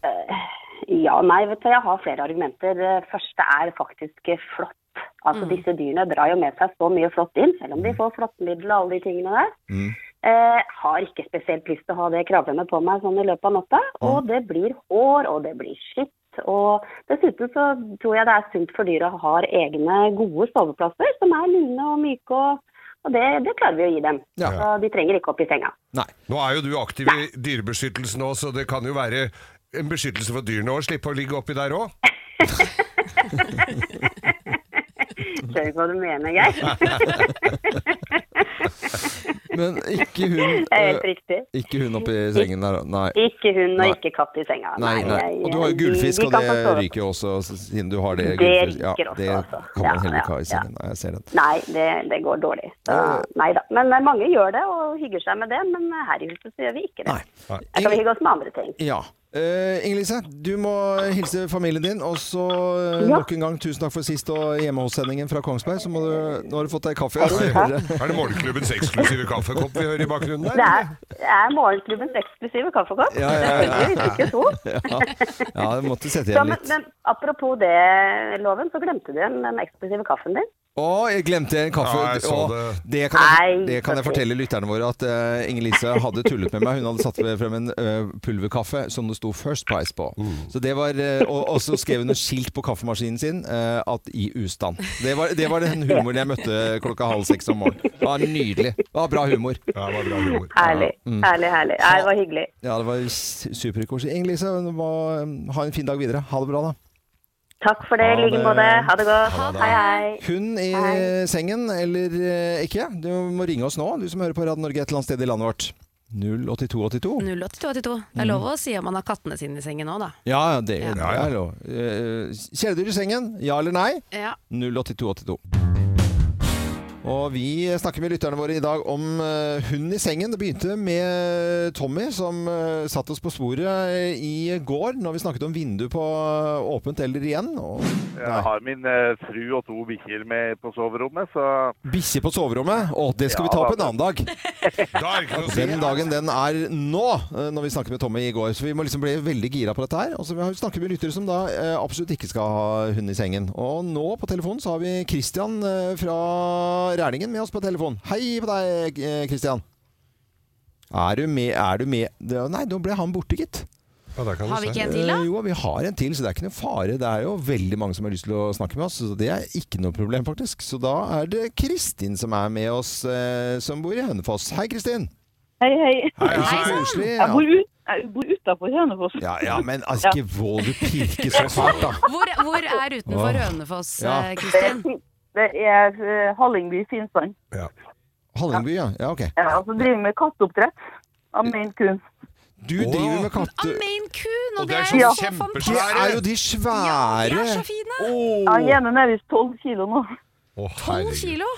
Ja, nei, vet du, jeg har flere argumenter. Det Første er faktisk flått. Altså, Disse dyrene drar jo med seg så mye flått inn, selv om de får flåttmiddel og alle de tingene der. Eh, har ikke spesielt lyst til å ha det kravlende på meg sånn i løpet av natta. Og det blir hår, og det blir skitt. Og dessuten så tror jeg det er sunt for dyra å ha egne gode soveplasser som er lune og myke. Og, og det, det klarer vi å gi dem.
Ja.
Så de trenger ikke opp i senga.
Nei.
Nå er jo du aktiv i dyrebeskyttelsen òg, så det kan jo være en beskyttelse for dyrene òg. Slippe å ligge oppi der òg.
Skjønner ikke hva du mener, Geir.
Men ikke hun,
Det er
eh,
helt riktig.
ikke hun oppe i sengen der, nei.
Ikke hund
Nei.
og ikke katt i senga.
Nei, nei.
jeg-
Og du har jo gullfisk,
de- de
og
kan få
det
sove.
ryker jo også, siden du har det.
Det
gullfisk.
ryker også,
Ja, det
altså.
kan man
Ja,
heller ikke ha i
ja,
sengen. Nei, jeg ser den.
Nei, det, det går dårlig.
Ja, ja.
Så, nei da. Men eh, mange gjør det og hygger seg med det, men her i huset så gjør vi ikke det.
Nei.
Nei.
Her kan vi hygge oss med andre ting.
Ja. Uh, Inger-Lise, du må hilse familien din. Og så eh,
Ja.
nok en gang tusen takk for sist og hjemmehos-sendingen fra Kongsberg. Så må du, nå har du fått deg kaffe. og så hører jeg-
Er det Morgenklubbens eksklusive kaffekopp vi hører i bakgrunnen
Det
der?
er, det er morgenklubbens eksklusive kaffekopp.
Ja, ja, ja, ja.
Det er ikke så.
ja. ja, du måtte sette
Ja,
igjen
men,
litt.
men apropos det, Loven, så glemte du igjen den eksklusive kaffen din.
Å, jeg glemte en kaffe.
Ja, jeg så
Å,
det.
det. kan jeg,
Nei,
det kan jeg
så
fortelle lytterne våre at eh, Inger-Lise hadde tullet med meg. Hun hadde satt frem en eh, pulverkaffe som det sto First Price på.
Mm.
Så det var, eh, og, og så skrev hun et skilt på kaffemaskinen sin eh, at 'i ustand'. Det var, det var den humoren jeg møtte klokka halv seks om morgenen. Det var nydelig. Det var bra humor. Mm.
Ja, det var bra humor.
Herlig. Herlig, herlig. Nei, det var hyggelig.
Ja, det var s- superkoselig. Inger-Lise, hva- um, ha en fin dag videre. Ha det bra, da.
Takk for det
Ha
i like
det.
måte. Ha det godt.
Ha det.
Hei, hei.
Hund i
Hei.
sengen, eller eh, ikke? Du må ringe oss nå, du som hører på Radio Norge et eller annet sted i landet vårt. 08282.
08282. Det er lov å si om man har kattene sine i sengen nå, da.
Ja, ja, det
Ja.
er lov. Eh, Kjæledyr i sengen, ja eller nei?
Ja.
08282. Og vi snakker med lytterne våre i dag om eh, hund i sengen. Det begynte med Tommy, som eh, satt oss på sporet eh, i går når vi snakket om vindu på eh, åpent eller igjen. Og
Jeg har min eh, fru og to bikkjer med på soverommet, så
bikkje på soverommet. Å, det skal vi ta
Ja,
opp en annen dag.
Da er det ikke noe å si. altså.
Den dagen den er nå, eh, når vi snakket med Tommy i går. Så vi må liksom bli veldig gira på dette her. Og så har vi snakket med lyttere som da eh, absolutt ikke skal ha hund i sengen. Og nå på telefonen så har vi Christian eh, fra Rælingen med oss på telefon. Hei på deg, eh, Christian. Er du med? Er du med? Det- Nei, nå ble han borte, gitt.
Ja, der kan du
Har vi
se.
ikke en til, da?
Eh, Jo, vi har en til, så det er ikke noe fare. Det er jo veldig mange som har lyst til å snakke med oss, så det er ikke noe problem, faktisk. Så da er det Kristin som er med oss, eh, som bor i Hønefoss. Hei, Kristin.
Hei, hei.
Hei,
Så
hei.
koselig.
Jeg bor, ut, jeg bor utenfor Hønefoss.
Ja, ja, men altså, ikke våg du pirke så fælt, da.
Hvor, hvor er utenfor Hønefoss,
Ja.
eh, Kristin?
Det er eh, Hallingby Finnsand.
Hallingby, ja. ja ok.
Ja, og så driver vi med katteoppdrett. Av Maine Coon.
Du driver med katt...
Amen kun! Og
Og det er
jo
sånn
så fantastisk!
Det er
Ja,
kjempesvære.
jo de
de
svære
er så fine!
Åh.
Han ene er visst 12 kilo nå.
Å,
12
herregud.
kilo!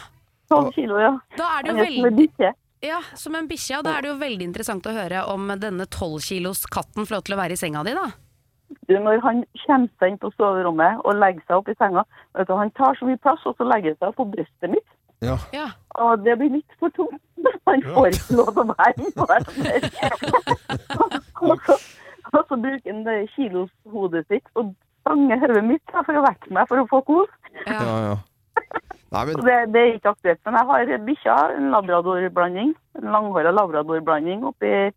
12 kilo, ja.
Da er det
Han er
jo
som en
veldig
bikkje.
Ja, som en bikkje, og da er det jo veldig interessant å høre om denne 12 kilos katten får lov til å være i senga di, da.
Du, Når han kommer seg inn på soverommet og legger seg opp i senga vet du, Han tar så mye plass, og så legger han seg på brystet mitt.
Ja.
Ja.
Og det blir litt for tungt. Han får ikke lov til å være med på Og så- og så bruker han det kiloshodet sitt og stanger hodet mitt da, for å vekke meg for å få kos.
ja, ja. Nei,
Så
men
Det, det er ikke aktuelt. Men jeg har bikkja, en labradorblanding. En langhåra labradorblanding oppi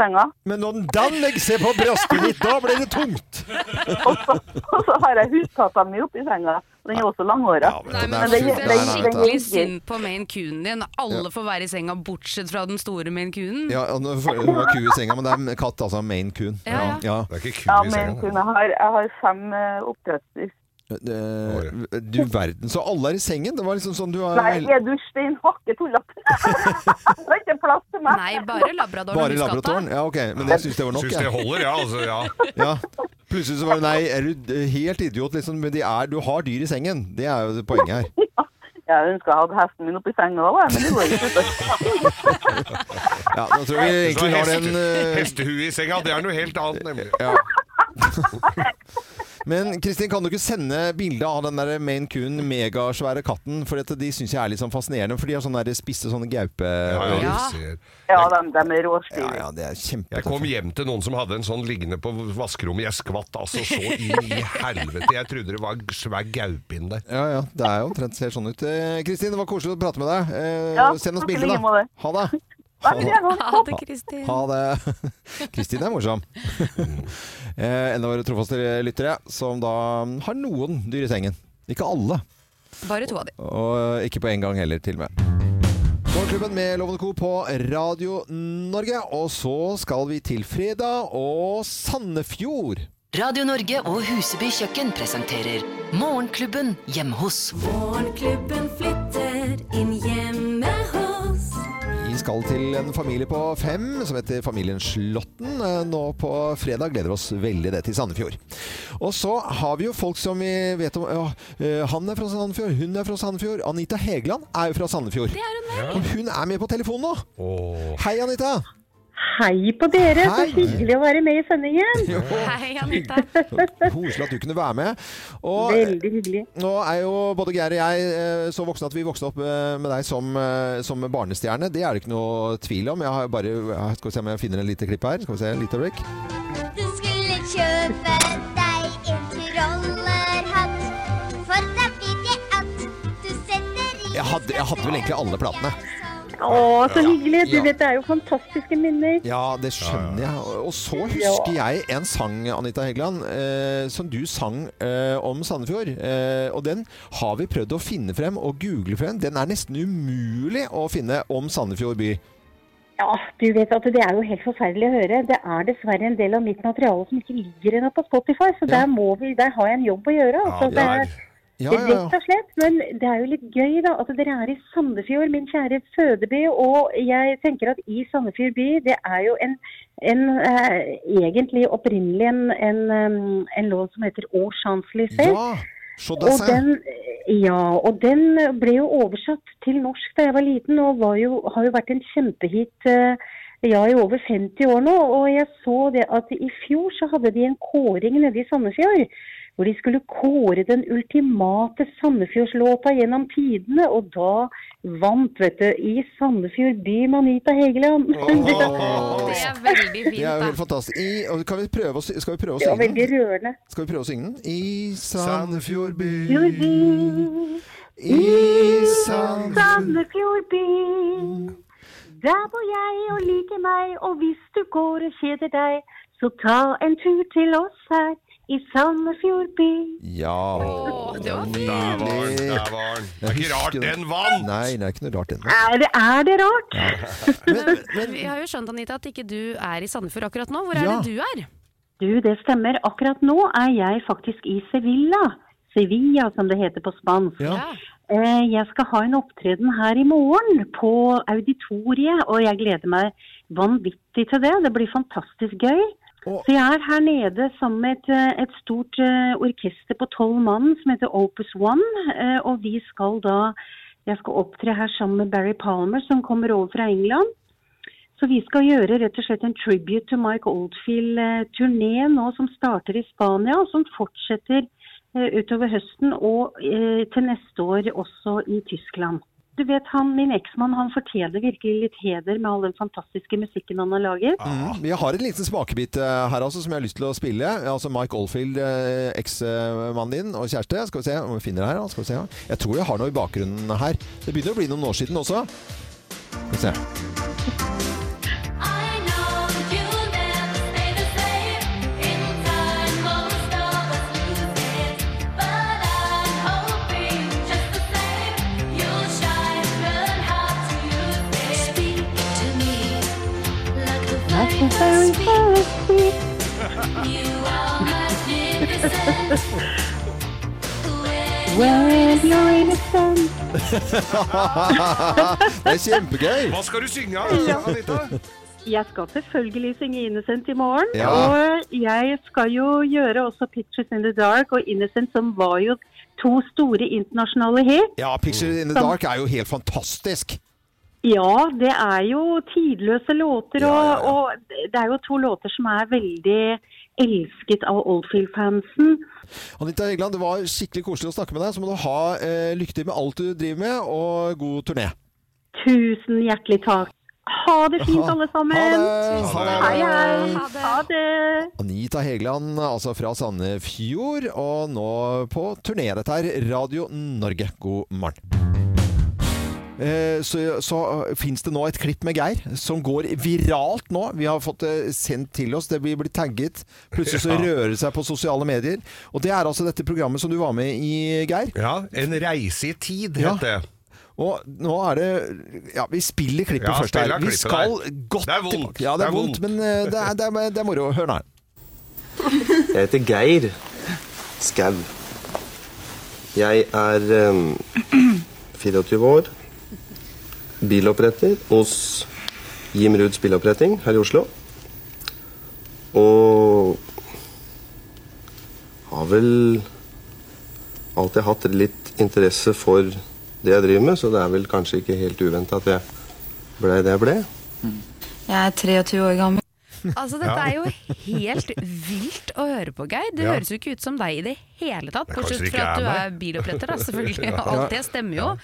senga.
Men når den legger seg på brystet ditt, da blir det tungt!
Og så, og så har jeg huskatta mi oppi senga. og Den er også langhåra.
Ja, men
Nei,
den
men
er
det
det-
full-
det-
Nei,
er
nei,
det-
vet du.
skikkelig synd på Maine Coon din. Alle får være i senga bortsett fra den store Maine Coonen.
Ja, og nå får- hun har ku i senga, men det er en katt, altså. Maine coon.
Ja, ja.
ja.
Det er ikke
Ja,
kul i
men
sengen.
kunne, jeg, har, jeg har fem eh, oppdrettsdyr.
Eh, Du verden, så alle er i sengen? Det var liksom sånn du har
Nei, er du steinhakke tullete? Det er ikke plass til meg.
Nei, bare labradoren og
Bare
huskatta.
laboratoren? Ja, ok. Men jeg syns det var nok,
Syns det
jeg.
holder, ja. Altså, ja.
Ja. Plutselig så var det nei, er du helt idiot, liksom. Men de er, du har dyr i sengen. Det er jo poenget her.
Jeg ønska jeg hadde hesten min oppi senga òg, men det går ikke. vet du.
Ja, nå tror jeg vi egentlig har den eh,
Hestehue i senga, det er noe helt annet, nemlig.
ja. Men Kristin, kan du ikke sende bilde av den der Maine Coon megasvære katten? For dette, de syns jeg er litt sånn fascinerende, for de har sånne der spisse sånne
Ja,
gaupeører.
ja,
Ja,
du ser.
Ja, de, de er
ja,
råstive.
det er
Jeg kom
kjempetøft.
hjem til noen som hadde en sånn liggende på vaskerommet. Jeg skvatt altså så inn i helvete. Jeg trodde det var svær gaupe inn der.
Ja, ja. Det er jo omtrent ser sånn ut. Eh, Kristin, det var koselig å prate med deg. Eh,
Ja,
send oss
takk i
bilde,
like
da.
måte.
Ha det.
Nei, men jeg var-
Ha det, Kristin.
Ha det. Kristin er morsom.
Mm.
eh, en av våre trofaste lyttere som da har noen dyr i sengen. Ikke alle,
Bare to av de.
og eh, ikke på én gang heller, til og med. Morgenklubben med Lovende Co. på Radio Norge. Og så skal vi til fredag og Sandefjord.
Radio Norge og Huseby kjøkken presenterer Morgenklubben hjemme hos.
Morgenklubben flytter inn hjemme hos
Vi skal til en familie på fem som heter familien Slåtten. eh, Nå på fredag gleder oss veldig det til Sandefjord. Og så har vi jo folk som vi vet om ja, eh, Han er fra Sandefjord, hun er fra Sandefjord. Anita Hegeland er jo fra Sandefjord. Og hun er med på telefonen nå.
Åh.
Hei, Anita.
Hei på dere,
så Hei. hyggelig
å være med i sendingen.
Jo,
Hei, Anita.
Koselig at du kunne være med. Og
hyggelig.
Nå er jo både Geir og jeg eh, så voksne at vi vokste opp eh, med deg som, eh, som barnestjerne. Det er det ikke noe tvil om. Jeg har bare, ja, skal vi se om jeg finner en lite klipp her. Skal vi se, en liten øyeblikk.
Du skulle kjøpe deg en trollerhatt For da vet jeg at du setter
jeg hadde, jeg hadde vel egentlig alle platene.
Å, så
Ja.
hyggelig. Du
Ja.
vet, det er jo fantastiske minner.
Ja, det skjønner jeg. Og så husker jeg en sang, Anita Hegeland, eh, som du sang eh, om Sandefjord. Eh, og den har vi prøvd å finne frem og google frem. Den er nesten umulig å finne om Sandefjord by.
Ja, du vet at det er jo helt forferdelig å høre. Det er dessverre en del av mitt materiale som ikke ligger ennå på Spotify, så der, må vi, der har jeg en jobb å gjøre. Altså.
det er-
det er,
Ja,
det
ja,
er
ja.
Rett og slett. Men det er jo litt gøy da, at dere er i Sandefjord, min kjære fødeby. Og jeg tenker at i Sandefjord by, det er jo en, en eh, egentlig opprinnelig en, en, em, en lov som heter Au Champs-Lycée.
Ja, så det
og
ser.
den, ja, og den ble jo oversatt til norsk da jeg var liten, og var jo, har jo vært en kjempehit eh, ja, i over 50 år nå. Og jeg så det at i fjor så hadde de en kåring nede i Sandefjord. Hvor de skulle kåre den ultimate Sandefjordslåta gjennom tidene. Og da vant, vet du, i Sandefjord by med Anita Hegeland.
det
er
veldig
Det er jo helt fantastisk. I, og kan vi prøve å, sy- skal vi prøve å
Det var
synge
veldig
den?
rørende.
Skal vi prøve å synge den? I Sandefjord by
I
Sandefjord by. Der bor jeg og liker meg, og hvis du går og kjeder deg, så ta en tur til oss her i Sandefjord by.
Ja.
det var fint. Der var den, der var den. Det er ikke rart den
vant! Nei, det er ikke noe rart den vant.
Er det, er det rart?
Vi har jo skjønt, Anita, at ikke du er i Sandefjord akkurat nå. Hvor er
Ja.
det du er?
Du, det stemmer. Akkurat nå er jeg faktisk i Sevilla. Sevilla, som det heter på spansk. Eh, Jeg skal ha en opptreden her i morgen på auditoriet, og jeg gleder meg vanvittig til det. Det blir fantastisk gøy. Så jeg er her nede sammen med et, eh, et stort eh, orkester på tolv mann som heter Opus One, eh, og vi skal da jeg skal opptre her sammen med Barry Palmer, som kommer over fra England. Så vi skal gjøre rett og slett en tribute to Mike Oldfield-turné nå som starter i Spania, og som fortsetter eh, utover høsten og eh, til neste år også i Tyskland. Du vet han, Min eksmann han fortjener virkelig litt heder med all den fantastiske musikken han har laget.
Mm. Jeg har en liten smakebit eh, her altså, som jeg har lyst til å spille. Altså Mike Oldfield, eh, eksmannen din og kjæreste. Skal vi se om vi finner det her. da. Skal vi se. her. Jeg tror jeg har noe i bakgrunnen her. Det begynner å bli noen år siden også. Skal vi se.
Like a very
When you're in the sun.
det er kjempegøy!
Hva skal du synge av, Anita?
Jeg skal selvfølgelig synge 'Innocent' i morgen.
Ja.
Og jeg skal jo gjøre også 'Pictures in the Dark' og 'Innocent', som var jo to store internasjonale hit.
Ja, 'Picture in the
Som-
Dark' er jo helt fantastisk.
Ja, det er jo tidløse låter, og, og det er jo to låter som er veldig elsket av Oldfield-fansen.
Anita Hegeland, det var skikkelig koselig å snakke med deg. Så må du ha eh, lykke til med alt du driver med, og god turné.
Tusen hjertelig takk. Ha det fint, alle sammen.
Ha det.
Hei, hei. Ha det.
Anita Hegeland, altså fra Sandefjord, og nå på turné. Dette er Radio Norge. God morgen. Eh, Så, så fins det nå et klipp med Geir som går viralt nå. Vi har fått det sendt til oss. Det blir blir tagget. Plutselig så
Ja.
rører det seg på sosiale medier. Og det er altså dette programmet som du var med i, Geir.
Ja, En reise i tid
Ja.
het det.
Og nå er det Ja, vi spiller klippet
Ja,
først her.
spiller
Vi
klippet
skal
der.
godt
Det er vondt.
tilbake. Ja, det er, vondt, men eh, det er, det er, det er moro. Hør nå her.
Jeg heter Geir Skau. Jeg er em, 24 år. Biloppretter hos Jim Ruds Biloppretting her i Oslo. Og har vel alltid hatt litt interesse for det jeg driver med, så det er vel kanskje ikke helt uventa at jeg blei det jeg ble.
Jeg er 23 år gammel.
Altså, Dette
Ja.
er jo helt vilt å høre på, Geir. Det
Ja.
høres jo ikke ut som deg i det hele tatt.
Det er kanskje
Bortsett
det
fra
ikke
at
er
du
meg.
er biloppretter, da, selvfølgelig.
Ja.
Alt det stemmer jo.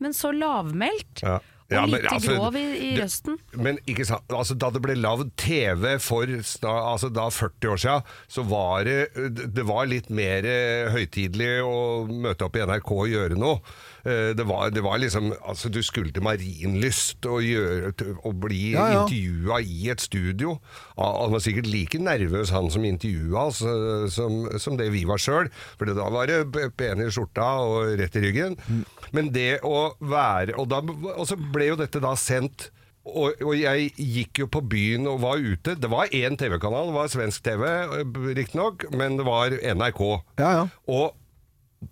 Men så lavmælt.
Ja. Ja, men
lite
altså,
grov i, i
det-
røsten.
Men ikke sant, altså, da det ble lagd TV for sna, altså, da 40 år siden, så var det, det var litt mer eh, høytidelig å møte opp i NRK og gjøre noe. Eh, Det var, det var liksom altså, Du skulle til Marienlyst og, gjøre, og bli
Ja, ja.
intervjua i et studio. Ah, Han var sikkert like nervøs, han som intervjua oss, eh, som, som det vi var sjøl. For da var det p- pen i skjorta og rett i ryggen. Men det å være Og, da, og så ble jo dette da sendt og, og jeg gikk jo på byen og var ute. Det var én TV-kanal, det var svensk TV eh, riktignok, men det var NRK. Og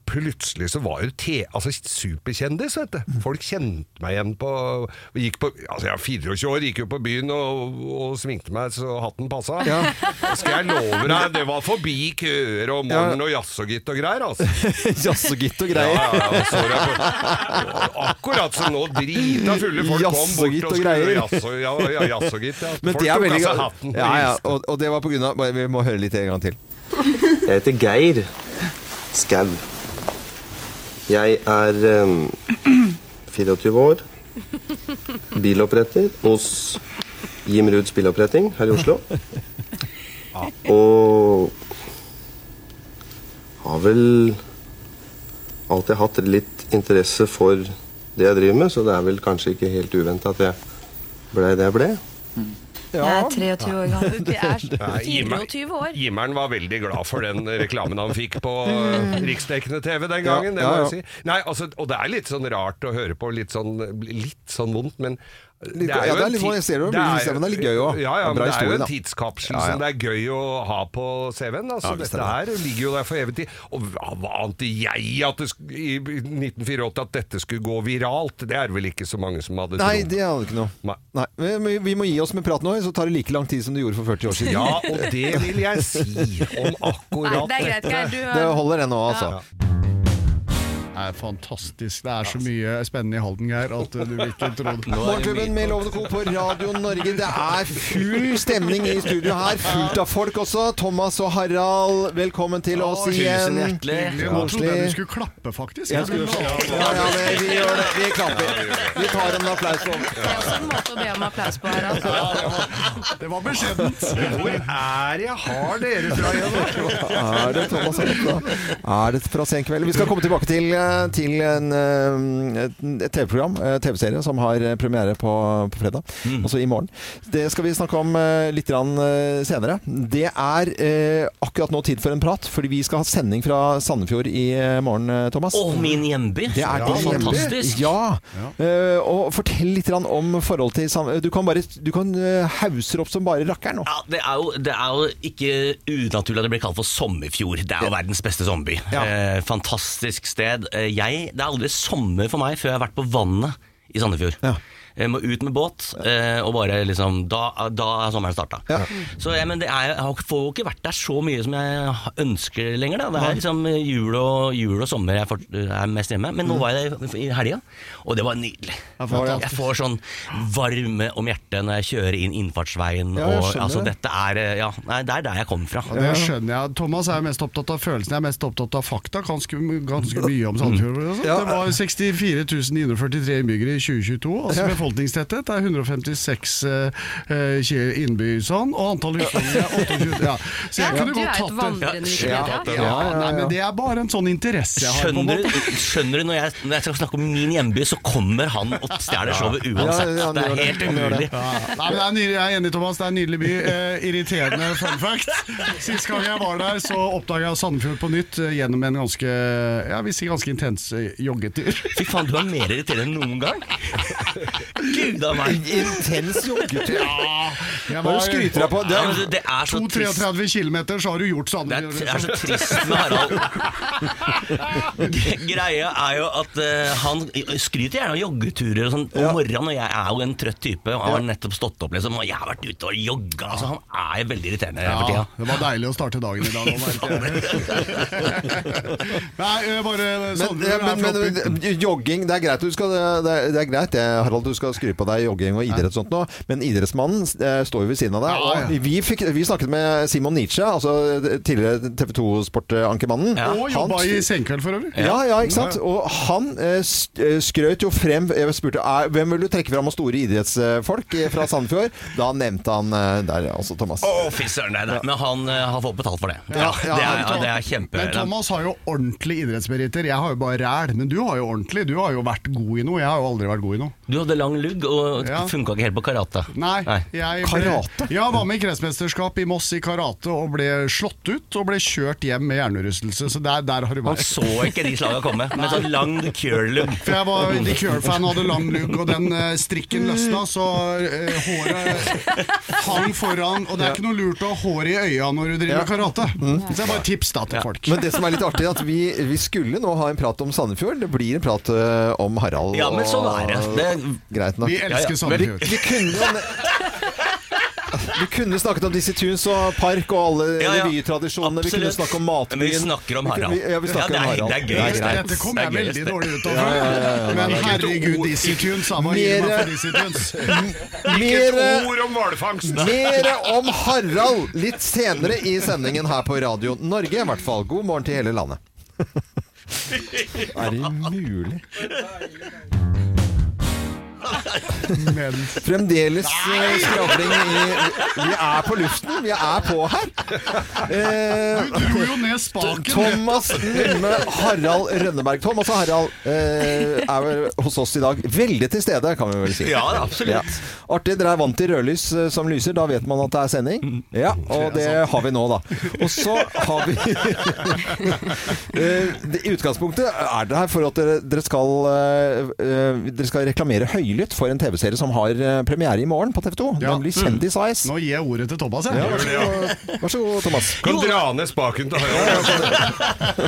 plutselig så var jo te, altså superkjendis, vet
Mm.
du. Folk kjente meg igjen på, gikk på Altså jeg er 24 år, gikk jo på byen og, og svingte meg så hatten passa.
Ja.
Skal jeg love deg, det var forbi køer og morgen og jazz og gitt og greier, altså.
Jazz og gitt og greier.
Ja, ja, ja, så det på- Akkurat som nå, drita fulle folk kom
Jazz og
bort
gitt
og
og
skulle
greier.
jazz og- ja, ja, jazz og gitt, ja.
Men
Folk
det er
tok
veldig
av seg
gøy.
hatten og
Ja, ja,
hilste.
og, og det var på grunn av Vi må høre litt en gang til.
Jeg heter Geir Skau. Jeg er ehm, em, 24 år, biloppretter hos Jim Ruds Biloppretting her i Oslo. Og har vel alltid hatt litt interesse for det jeg driver med, så det er vel kanskje ikke helt uventa at jeg blei det jeg ble.
Jeg er 23 år gammel.
Det er
Nei, Jimmer-
24 år.
Jimmeren var veldig glad for den reklamen han fikk på eh, riksdekkende TV den
Ja,
gangen. Det
ja,
må
ja.
jeg si. Nei, altså, og det er litt sånn rart å høre på, litt sånn, litt sånn vondt, men
Litt- ja, det er litt- jeg ser det jo, men jeg ser det, men det er litt gøy også.
Ja, ja,
En
men
bra
det er jo
historie, da.
en tidskapsel
Ja, ja.
som det er gøy å ha på CV-en. Altså,
Ja, visst er
dette her ligger jo der for evig tid. Og hva hva ante jeg at det, sk- i 1984 at dette skulle gå viralt? Det er vel ikke så mange som hadde
Nei,
trodd.
det hadde ikke noe. Nei. Men Vi, vi må gi oss med praten nå, så tar det like lang tid som det gjorde for 40 år siden.
Ja, og det vil jeg si om akkurat
Nei, det er greit,
dette.
Geir, du har- Det holder det nå, altså. Ja.
Det er fantastisk. Det er så mye spennende i Halden, Geir, at du vil ikke tro det.
Morgenklubben med Lovende Co. på Radio Norge. Det er full stemning i studio her. Fullt av folk også. Thomas og Harald, velkommen til oss igjen.
Jeg trodde jeg du skulle klappe, faktisk.
Jeg skulle- Ja, ja, det- vi gjør det. Vi klapper. Vi tar en applaus nå.
Måte å be om applaus på, Harald.
Det var beskjedent.
Hvor er jeg har dere fra igjen?
Er det Thomas Harald, da? Er det fra Senkveld? Vi skal komme tilbake til, eh, til en, eh, et- et TV-program, eh, TV-serie, som har eh, premiere på, på fredag. Altså i morgen. Det skal vi snakke om eh, litt grann, eh, senere. Det er eh, akkurat nå tid for en prat, fordi vi skal ha sending fra Sandefjord i eh, morgen, eh, Thomas.
Og min hjemby.
Det er
Ja,
din hjemby.
fantastisk.
Ja. Eh, og fortell litt grann om forholdet til Sand... Du kan bare du kan eh, hauser opp som bare rakkeren nå.
Ja, det er, jo, det er jo ikke unaturlig at det blir kalt for Sommerfjord. Det er jo verdens beste sommerby. Eh, fantastisk sted. Eh, jeg, det er aldri sommer for meg før jeg har vært på vannet i Sandefjord. Jeg må ut med båt, eh, og bare liksom Da, da er sommeren starta. Så ja, men det er, jeg har- får jo ikke vært der så mye som jeg ønsker lenger. Da. Det
Nei.
er liksom jul og, jul og sommer jeg fort- er mest hjemme. Men
Mm.
nå var jeg der i helga, og det var nydelig. Jeg får sånn varme om hjertet når jeg kjører inn innfartsveien.
Ja, jeg
og,
skjønner
altså,
det.
dette er eh, Ja, nei, det er der jeg kommer fra.
Ja, det skjønner jeg. Thomas er mest opptatt av følelsen, jeg er mest opptatt av fakta. Ganske, ganske mye om Sandefjord. og sånt.
Ja.
Det var 64 943 innbyggere i 2022. altså
Ja.
Befolkningstetthet er 156 eh, eh, innbyggere, sånn, og antall husstander er 28. Ja. Så jeg
Ja,
kunne
du er
godt
et vandrende
tatt det.
Wikipedia.
Ja, ja, ja, nei, men det er bare en sånn interesse jeg har. på en
Skjønner
måte.
du, skjønner du når, jeg, når jeg skal snakke om min hjemby, så kommer han og stjeler showet
Ja,
uansett.
ja, han
Det
gjør
er
det.
helt
Han gjør det.
umulig.
Ja. Nei, men det er nydelig, jeg er enig, Thomas. Det er en nydelig by. Eh, irriterende fun fact. Sist gang jeg var der, så oppdaga jeg Sandefjord på nytt eh, gjennom en ganske jeg vil si ganske intens eh, joggetur.
Fy faen, du er mer irriterende enn noen gang! Gud a meg!
Intens joggetur?
Ja, jeg
Hva er
var,
det du skryter deg på? Det er- Ja, men det- det er så
2-33 km, så har du gjort
Det
Sandefjord. liksom.
er, det er så trist med Harald. G- Greia er jo at eh, han skryter gjerne av joggeturer og sånn om morgenen, og jeg er jo en trøtt type og har nettopp stått opp, liksom, og jeg har vært ute og jogga. Altså, han er jo veldig irriterende for
Ja,
tida.
det var deilig å starte dagen i dag. å være- Nei, eh, bare
Men,
Sandefjord er
men,
flott by.
men jogging, det er greit du skal, det, er- det er greit det, Harald, du skal skryte på deg jogging og idrett og sånt nå, men idrettsmannen eh, står jo ved siden av deg.
Ja, ja.
Og vi, fikk, vi snakket med Simon Nietzsche, altså tidligere TV 2-sportankermannen.
Og jobba i Senkveld for øvrig.
Ja, ja, ikke sant? Og han eh, s- eh, skrøt jo frem Jeg spurte er, hvem vil du trekke fram av store idrettsfolk eh, fra Sandefjord. Da nevnte han eh, der, altså Thomas.
Å, fy søren, nei, nei. Men han eh, har fått betalt for det.
Ja, ja,
det, er,
han-
ja, det er kjempe...
Men Thomas har jo ordentlig idrettsmeritter. Jeg har jo bare ræl. Men du har jo ordentlig. Du har jo vært god i noe. Jeg har jo aldri vært god i noe.
Du hadde lang lugg og
Ja.
funka ikke helt på karate.
Nei, jeg ble, Ja, var med i kretsmesterskap i Moss i karate og ble slått ut og ble kjørt hjem med hjernerystelse. Så der, der har du
Han så ikke de slaga komme, men sånn lang curlugg.
For jeg var The Cure-fan og hadde lang lugg, og den eh, strikken løsna, så eh, håret hang foran. Og det er ikke noe lurt å ha håret i øya når du driver med karate. Så det er bare et tips da til folk.
Mm. Men det som er litt artig, er at vi, vi skulle nå ha en prat om Sandefjord. Det blir en prat eh, om Harald.
Ja, men
og-
sånn er det. Det-
Greit nok.
Vi elsker Ja, ja. Sandefjord.
Vi, vi kunne jo vi kunne snakket om Dizzie Tunes og Park og alle
Ja, ja.
revytradisjonene. Vi kunne
Absolutt.
snakke om matbyen.
Men vi snakker om
Vi kunne-
Harald.
Ja, vi snakker
Ja, det er-
om Harald.
det er gøy.
greit.
Dette kom jeg
Det er
veldig
gøyest, det.
dårlig ut av.
Ja, ja, ja, ja, ja.
Men
Ikke et
herregud,
ord-
Dizzie Tunes, han var gir meg for Dizzie Tunes.
Ikke
Mere-
et ord om hvalfangst!
Mer om Harald litt senere i sendingen her på Radio Norge, i hvert fall. God morgen til hele landet. Er det mulig? Fremdeles eh, skravling i Vi er på luften. Vi er på her. Eh,
Du dro jo ned spaken.
Thomas Numme, Harald Rønneberg. Thomas og Harald eh, er vel hos oss i dag. Veldig til stede, kan vi vel si.
Ja, absolutt.
Artig, dere er vant til rødlys eh, som lyser. Da vet man at det er
Mm.
sending. Ja, Og det har vi nå, da. Og så har vi Eh, det- I utgangspunktet er det her for at dere, dere, skal, eh, eh, dere skal reklamere høylytt for en TV-serie som har eh, premiere i morgen på TV 2. Den blir Kjendis-Ice.
Mm. Nå gir jeg ordet til Thomas,
Ja,
jeg.
vær så god, vær så god Thomas.
Kan dra ned spaken til Harald.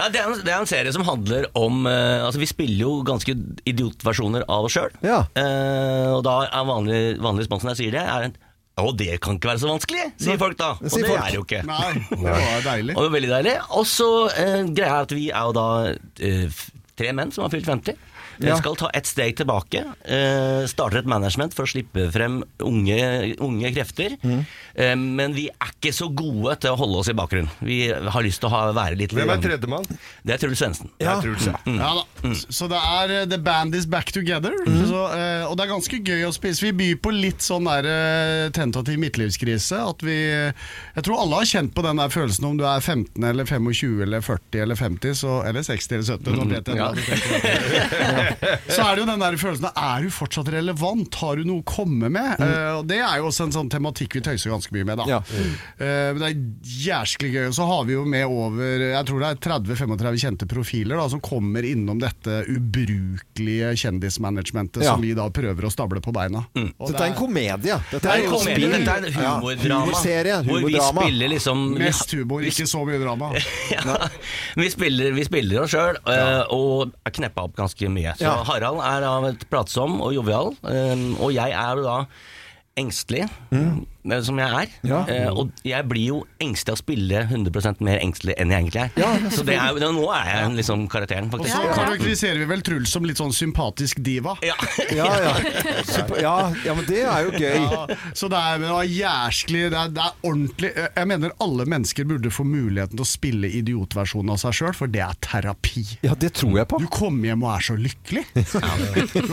Ja, det, er en, det er en serie som handler om eh, Altså Vi spiller jo ganske idiotversjoner av oss sjøl. og da er vanlig, vanlig respons når jeg sier det, er en Å, det kan ikke være så vanskelig, sier folk da. Og
sier
det
folk.
er det jo ikke.
Nei, det var deilig.
Og det var veldig deilig. Og så eh, greia er at vi er jo da eh, f- tre menn som har fylt 50. Vi
Ja.
skal ta et steg tilbake. Eh, starter et management for å slippe frem unge, unge krefter.
Mm.
Eh, men vi er ikke så gode til å holde oss i bakgrunnen. Vi har lyst til å ha, være litt
Hvem er tredjemann?
Det er Truls Svendsen.
Ja. Det er Truls, ja.
Mm.
Ja da. Så det er eh, The Band Is Back Together. Så, eh, og det er ganske gøy å spise. Vi byr på litt sånn der eh, tentativ midtlivskrise. At vi eh, Jeg tror alle har kjent på den der følelsen om du er 15 eller 25 eller 40 eller 50, så, eller 60 eller 70, nå vet jeg
Ja.
hva du tenker på. Så er det jo den der følelsen av er du fortsatt relevant, har du noe å komme med?
Mm.
Eh, og det er jo også en sånn tematikk vi tøyser ganske mye med, da. Eh, men det er jæsklig gøy. Og så har vi jo med over jeg tror det er 30-35 kjente profiler da, som kommer innom dette ubrukelige kjendismanagementet
Ja. Mm.
som vi da prøver å stable på beina. Og
Dette er en komedie. Dette
Det
er
er
jo
en komedie,
spill.
dette er en
Ja,
humordrama.
Humorserie.
Hvor vi
Humordrama.
spiller liksom- vi
Mest humor, ikke så mye drama.
Ja. Vi spiller, vi spiller oss sjøl, eh, og er kneppa opp ganske mye. Så
Ja.
Harald er av et pratsom og jovial, eh, og jeg er jo da engstelig, eh, som jeg er. Eh, og jeg blir jo engstelig av å spille 100 mer engstelig enn jeg egentlig er. så det er, jo- nå er jeg liksom karakteren,
Og
faktisk.
så karakteriserer vi vel Truls som litt sånn sympatisk diva.
Ja,
Ja, ja. Super- ja, ja, men det er jo gøy.
så det er, men det er jæsklig det er, det er ordentlig Jeg mener alle mennesker burde få muligheten til å spille idiotversjonen av seg sjøl, for det er terapi.
Ja, det tror jeg på.
Du kommer hjem og er så lykkelig.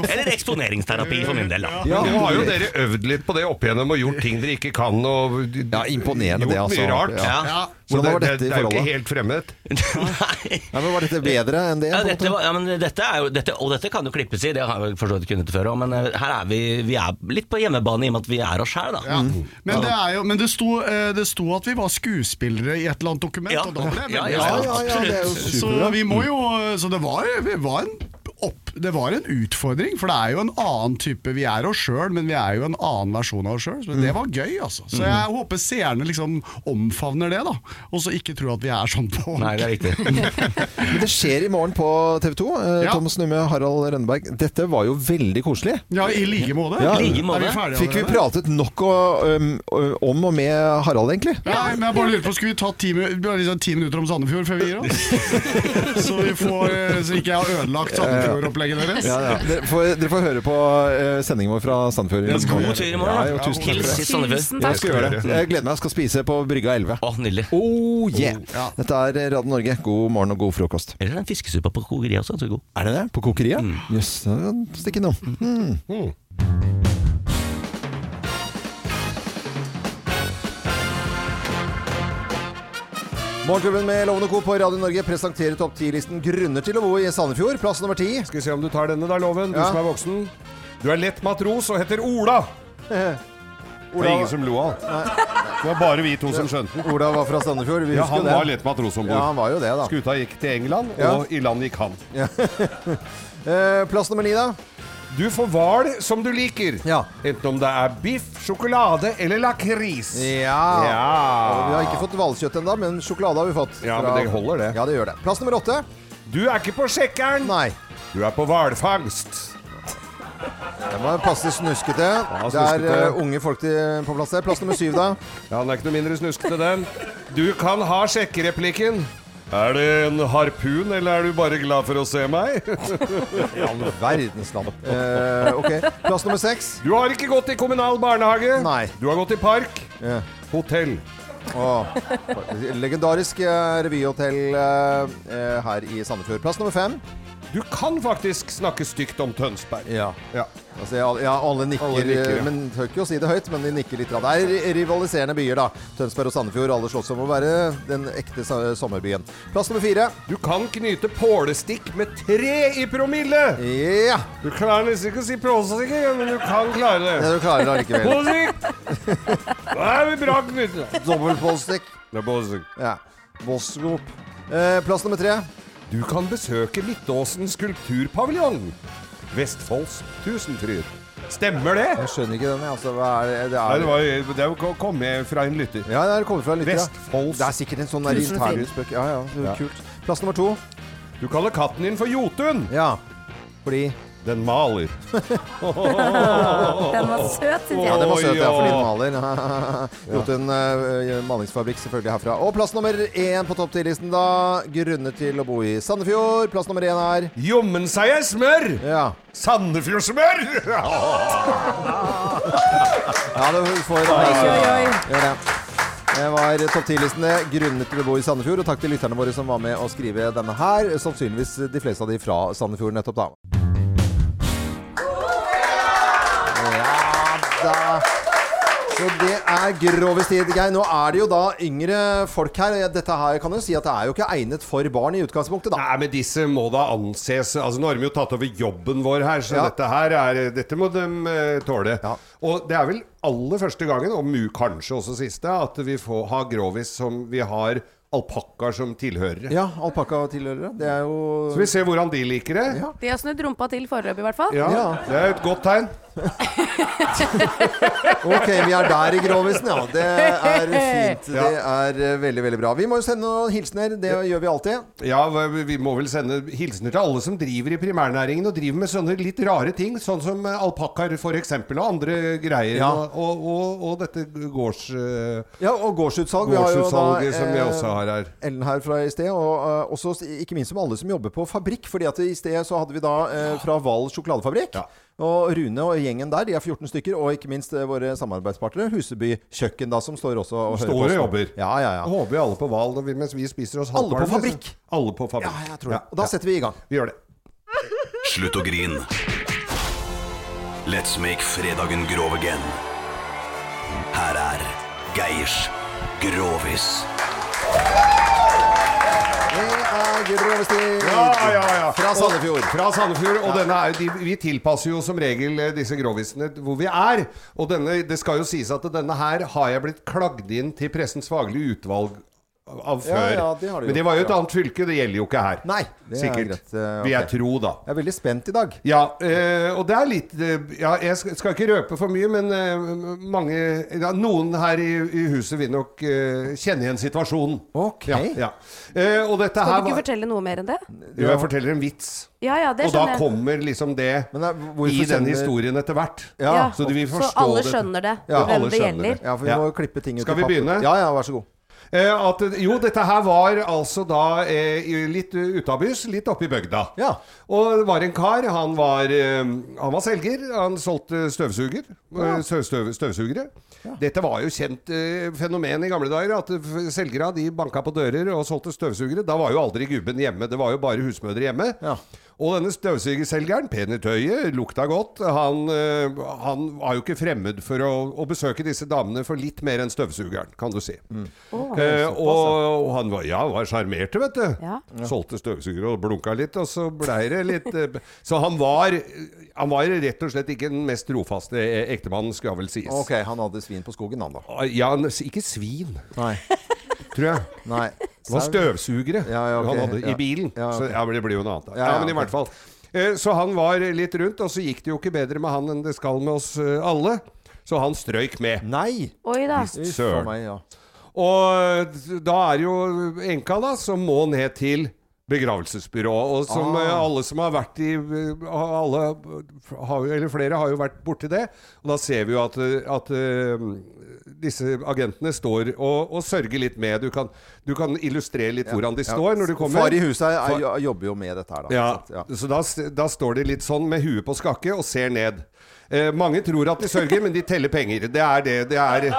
Eller eksponeringsterapi for min del, da.
Ja, Nå har jo dere øvd litt på det opp igjennom og gjort ting dere ikke kan. Og ja,
imponerende
gjort
det, altså.
mye rart.
Ja. Ja.
Så
Hvordan
det,
var
det,
dette i
det er jo
forholdet?
ikke helt fremmed.
Ja, men Var dette bedre enn det?
Ja, dette var, ja, men dette er jo, dette, og dette kan jo klippes i, det har jeg forstått kunnet før òg, men eh, her er vi, vi er litt på hjemmebane i og med at vi er oss sjæl, da. Mm.
Men, det, er jo, men det, sto, eh, det sto at vi var skuespillere i et eller annet dokument, og da ble jeg
Ja,
veldig
ja,
glad.
ja, ja, det er jo
Så
superbra. Mm.
vi må jo Så det var, vi var en opp, det var en utfordring, for det er jo en annen type Vi er oss sjøl, men vi er jo en annen versjon av oss sjøl.
Mm.
Så det var gøy, altså. Så jeg håper seerne liksom omfavner det, da. Og så ikke tror at vi er sånn på
Nei, det er riktig.
Men det skjer i morgen på TV 2.
Ja.
Thomas Numme, Harald Rønneberg. Dette var jo veldig koselig.
Ja, i like måte.
Ja.
I like måte. Er vi ferdige
Fikk vi
allerede?
pratet nok og, um, om og med Harald, egentlig?
Nei, men jeg bare lurer på, Skulle vi ta ti, minu- bare liksom ti minutter om Sandefjord før vi gir oss? Så vi får, eh, så ikke jeg har ødelagt bursdagen deres.
Ja, ja. Dere, får, dere får høre på eh, sendingen vår fra Sandfjord.
Ja, så god tur i morgen.
Ja, jo, tusen takk. for det.
Hils i Sandefjord. Tusen takk.
Jeg skal gjøre det. Jeg gleder meg. Jeg skal spise på Brygga 11.
Å, nydelig.
Oh, yeah. Dette er Radio Norge. God morgen og god frokost.
Eller den fiskesuppa på kokeriet også. ganske god.
Er det det? På kokeriet? Jøss, mm. yes, stikk innom. Mm. Morgenklubben med Lovende Co. på Radio Norge presenterer topp 10-listen grunner til å bo i Sandefjord. Plass nummer ti.
Skal vi se om du tar denne, da, Loven. Du som er voksen. Du er lett matros og heter Ola. Det var ingen som lo av han. Det var bare vi to som skjønte den.
Ola var fra Sandefjord. Vi
ja,
husker
han
det.
var lett matros om bord.
Ja, han var jo det, da.
Skuta gikk til England,
Ja.
og i land gikk han.
Eh, plass nummer ni, da?
Du får hval som du liker. Enten om det er biff, sjokolade eller lakris.
Ja. Vi har ikke fått hvalkjøtt ennå, men sjokolade har vi fått.
Ja, men det holder, det.
Ja, det gjør det. Plass nummer åtte.
Du er ikke på sjekkeren.
Nei.
Du er på hvalfangst.
Det var passe snuskete. det er
snuskete.
eh, unge folk til, på plass der. Plass nummer syv, da.
Ja, han er ikke noe mindre snuskete, den. Du kan ha sjekkereplikken. Er det en harpun, eller er du bare glad for å se meg?
I all verdens land. Eh, ok. Plass nummer seks.
Du har ikke gått i kommunal barnehage.
Nei.
Du har gått i park. Hotell.
Åh, legendarisk eh, revyhotell eh, eh, her i Sandefjord. Plass nummer fem.
Du kan faktisk snakke stygt om Tønsberg.
Ja.
Ja.
Altså, ja, ja, alle nikker,
Alle nikker, ja.
men tør ikke å si det høyt, men de nikker litt. da. Det er rivaliserende byer, da. Tønsberg og Sandefjord. Alle slåss om å være den ekte sa- sommerbyen. Plass nummer fire.
Du kan knyte pålestikk med tre i promille!
Ja!
Du klarer nesten ikke å si pålestikk, engang, men du kan klare det.
Mm. Ja, du klarer det allikevel.
Pålestikk! Da er vi bra knyttet.
Dobbeltpolstikk.
Det er pålestikk.
Ja. Bossgrop. Eh, plass nummer tre.
Du kan besøke Midtåsen skulpturpaviljong. Vestfolds tusenfryd. Stemmer det?
Jeg skjønner ikke den, jeg. Altså, hva er det? Det
Nei,
er,
det, var, jo- det er jo å komme fra en lytter.
ja, det er- kommer fra litt
Vestfolds
Det er sikkert en sånn der
Tusenfryd.
intern spøk. Ja, ja. Det er
Ja.
Kult. Plass nummer to.
Du kaller katten din for Jotun.
Ja, fordi
Den maler.
Den
var søt, synes jeg.
Ja, den var søt, ja,
Oi,
fordi
ja.
den maler. Jotun eh, malingsfabrikk selvfølgelig herfra. Og plass nummer én på topp 10-listen, da. Grunner til å bo i Sandefjord. Plass nummer én er
Jommen seg er smør!
Ja.
Sandefjordsmør!
ja, det får jeg da.
Oi, oi, oi.
Gjør det. Det var topp 10-listen det. Grunner til å bo i Sandefjord. Og takk til lytterne våre som var med å skrive denne her. Sannsynligvis de fleste av de fra Sandefjord nettopp, da. Da. Så det er grovest tid, Geir. Nå er det jo da yngre folk her. og Dette her kan jo si at det er jo ikke egnet for barn i utgangspunktet, da.
Nei, men disse må da anses Altså, Nå har de jo tatt over jobben vår her, så
Ja.
dette her er Dette må de eh, tåle. Og det er vel aller første gangen, og mu kanskje også siste, at vi får ha grovis som vi har alpakkaer som tilhørere.
Ja, alpakkatilhørere. Det er jo
Så vi ser hvordan de liker det. Ja.
De har snudd rumpa til foreløpig, i hvert fall.
Det er jo et godt tegn.
Ok, vi er der i grovisen, ja. Det er fint.
Ja.
Det er eh, veldig, veldig bra. Vi må jo sende noen hilsener. Det gjør vi alltid.
Ja, hva- Vi må vel sende hilsener til alle som driver i primærnæringen og driver med sånne litt rare ting, sånn som alpakkaer f.eks. og andre greier.
Ja.
Og, og, og, og dette gårds... eh,
Ja, og gårdsutsalg.
Gårdsutsalget som vi også har her.
eh, Ellen her fra i sted, og eh, også s- ikke minst som alle som jobber på fabrikk. fordi at i sted så hadde vi da eh, fra Val sjokoladefabrikk. Og Rune og gjengen der, de er 14 stykker. Og ikke minst eh, våre samarbeidspartnere, Huseby kjøkken, da, som står også og
Står og
hører på. oss nå.
jobber.
Ja, ja, ja.
Håper vi alle på Hval når vi- mens vi spiser oss
Alle på
halvkvalme, så-
fabrikk.
Alle på fabrikk.
Ja, jeg tror det. Og da setter vi i gang.
Vi gjør det.
Slutt å grin. Let's make fredagen grov again. Her er Geirs Grovis.
Det er Gudrun
Ja, ja, ja.
Fra Sandefjord.
Og, fra Sandefjord, og denne er, jo- de, vi tilpasser jo som regel eh, disse grovisene hvor vi er. Og denne, det skal jo sies at denne her har jeg blitt klagd inn til Pressens faglige utvalg av
Ja,
før.
ja, det har du
Men
gjort,
det var jo et
ja.
annet fylke, det gjelder jo ikke her.
Nei, det er
Sikkert.
greit, eh,
Vil jeg
ok.
tro, da.
Jeg er veldig spent i dag.
Ja, eh, og det er litt eh, ja, Jeg sk- skal ikke røpe for mye, men eh, mange ja, Noen her i, i huset vil nok eh, kjenne igjen situasjonen.
Ok.
Ja, ja. Eh, og dette
Skal
her
du ikke
var
fortelle noe mer enn det?
Jo, jeg forteller en vits.
Ja, ja, det
Og da
skjønner jeg.
kommer liksom det i den
sender-
historien etter hvert.
Ja.
Så, du vil
Så
forstå
alle
det.
skjønner det,
Ja,
hvem
alle
det
skjønner
gjelder.
Ja, for vi
Ja.
må jo klippe ting ut
Skal
i
vi
pappen.
begynne?
Ja, ja, vær så god.
Eh, at, jo, dette her var altså da eh, i- litt utabys, litt oppe i bygda. Og det var en kar, han var, eh, han var selger, han solgte støvsuger,
Ja.
eh, støv, støv, støvsugere. Dette var jo kjent eh, fenomen i gamle dager, at f- selgere de banka på dører og solgte støvsugere. Da var jo aldri gubben hjemme, det var jo bare husmødre hjemme. Og denne støvsugerselgeren, pen i tøyet, lukta godt. Han, eh, han var jo ikke fremmed for å, å besøke disse damene for litt mer enn støvsugeren, kan du si. Eh, og, og han var, ja, var sjarmert, vet du. Solgte støvsugere og blunka litt, og så blei det litt eh, Så han var, han var rett og slett ikke den mest trofaste eh, ektemannen, skal vel sies. Ah,
Ok, han hadde svin på skogen, han da.
Ja, han- ikke svin. Tror jeg.
Nei.
Det var støvsugere
ja, ok.
han hadde
Ja.
i bilen.
Ja, ok.
Så ja, men det blir jo noe annet. da.
Ja,
Ja,
ja,
men i
ok.
hvert fall. Eh, Så han var litt rundt, og så gikk det jo ikke bedre med han enn det skal med oss eh, alle. Så han strøyk med.
Nei!
Oi da.
Visst søren. Og da er jo enka, da, som må ned til begravelsesbyrået. Og som
Ah.
eh, alle som har vært i eh, Alle har jo, eller flere har jo vært borti det. Og da ser vi jo at, eh, at eh, disse agentene står og, og sørger litt med. Du kan, du kan illustrere litt hvordan de
Ja.
står når du kommer.
Far i huset er,
Far-
er, jobber jo med dette her, da.
ja, så da, da står de litt sånn med huet på skakke og ser ned. Eh, mange tror at de sørger, men de teller penger. Det er det. det er,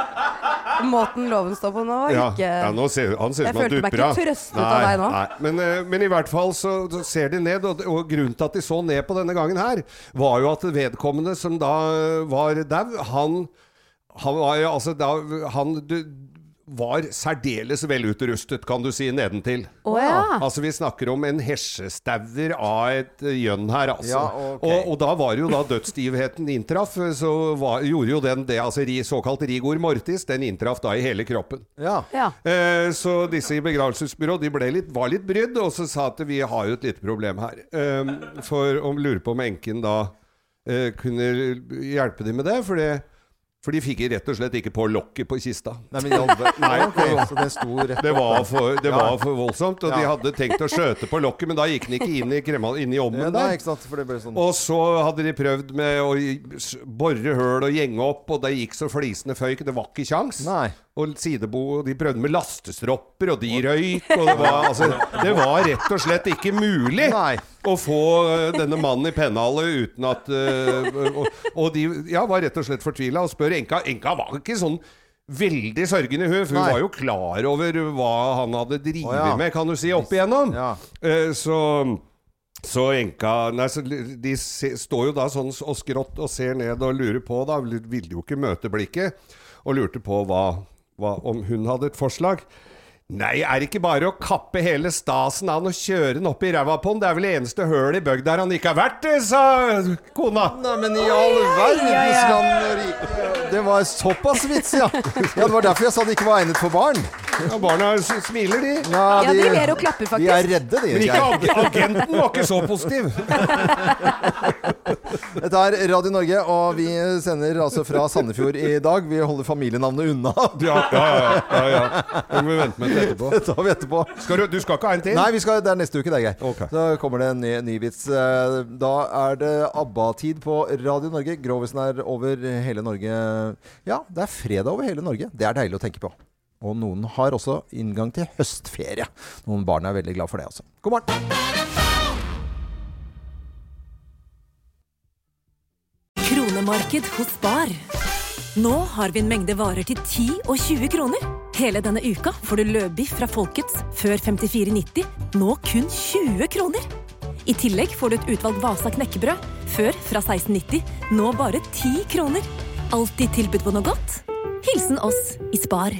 Måten loven står på nå, var
ja,
ikke
ja, nå ser, han ser ut
Jeg
som at
følte
du
meg
upper
ikke
av.
trøstet av deg nå.
Nei, men, eh, men i hvert fall så, så ser de ned, og, og grunnen til at de så ned på denne gangen her, var jo at vedkommende som da eh, var dau, han, han var jo altså da Han du, var særdeles velutrustet, kan du si, nedentil.
Å ja.
Altså, vi snakker om en hesjestauer av et eh, gjønn her, altså.
Ja, ok.
og, og da var jo da dødsstivheten inntraff, så var, gjorde jo den det, altså ri- såkalt rigor mortis, den inntraff da i hele kroppen.
Ja.
Eh, så disse i begravelsesbyrå de ble litt, var litt brydd, og så sa at vi har jo et lite problem her. Eh, for om lurer på om enken da eh, kunne hjelpe dem med det, for, det, for de fikk rett og slett ikke på lokket på kista.
Nei, men i all ver-
Nei,
Ok, så det sto rett
det
opp
var
der.
for, det
Ja.
var for voldsomt, og de
Ja.
hadde tenkt å skjøte på lokket, men da gikk den ikke inn i, kremma, inn i ommen
Nei,
der.
ikke sant? For det ble sånn
Og så hadde de prøvd med å i- s- bore høl og gjenge opp, og det gikk så flisende føyk, det var ikke kjangs. Og sidebo, og de prøvde med lastestropper, og de røyk, og det var, altså, det var rett og slett ikke mulig å få eh, denne mannen i pennalet uten at eh, og, og de ja, var rett og slett fortvila og spør enka. Enka var ikke sånn veldig sørgende i huet, for hun
Nei.
var jo klar over hva han hadde drevet
Å, ja.
med, kan du si, opp igjennom. Eh, så så enka Nei, så de se, står jo da sånn og skrått og ser ned og lurer på, da. Ville jo ikke møte blikket. Og lurte på hva, hva om hun hadde et forslag. Nei, er det ikke bare å kappe hele stasen av han og kjøre den opp i ræva på han? Det er vel det eneste hølet i bygda her han ikke har vært, eh, sa kona.
Nei, men i all verdens land og rike Det var såpass vits, ja. ja! Det var derfor jeg sa det ikke var egnet for barn.
Ja, Barna s- smiler, de.
Ja, de ler og klapper, faktisk.
De er redde, de.
Men ikke
Geir.
ag- agenten var ikke så positiv.
Dette er Radio Norge, og vi sender altså fra Sandefjord i dag. Vi holder familienavnet unna.
Ja, ja, ja. ja, ja. Det må vi vente med til etterpå.
Det tar vi etterpå.
Skal du, du skal ikke ha en til?
Nei, vi skal, det er neste uke, det, Geir. Så kommer det en ny, ny vits. Eh, Da er det ABBA-tid på Radio Norge. Grovisen er over hele Norge. Ja, det er fredag over hele Norge. Det er deilig å tenke på. Og noen har også inngang til høstferie. Noen barn er veldig glad for det, altså. God morgen.
Kronemarked hos Spar. Nå har vi en mengde varer til 10 og 20 kroner. Hele denne uka får du løbiff fra Folkets før 54,90, nå kun 20 kroner. I tillegg får du et utvalgt Vasa knekkebrød, før fra 16,90, nå bare 10 kroner. Alltid tilbud på noe godt. Hilsen oss i Spar.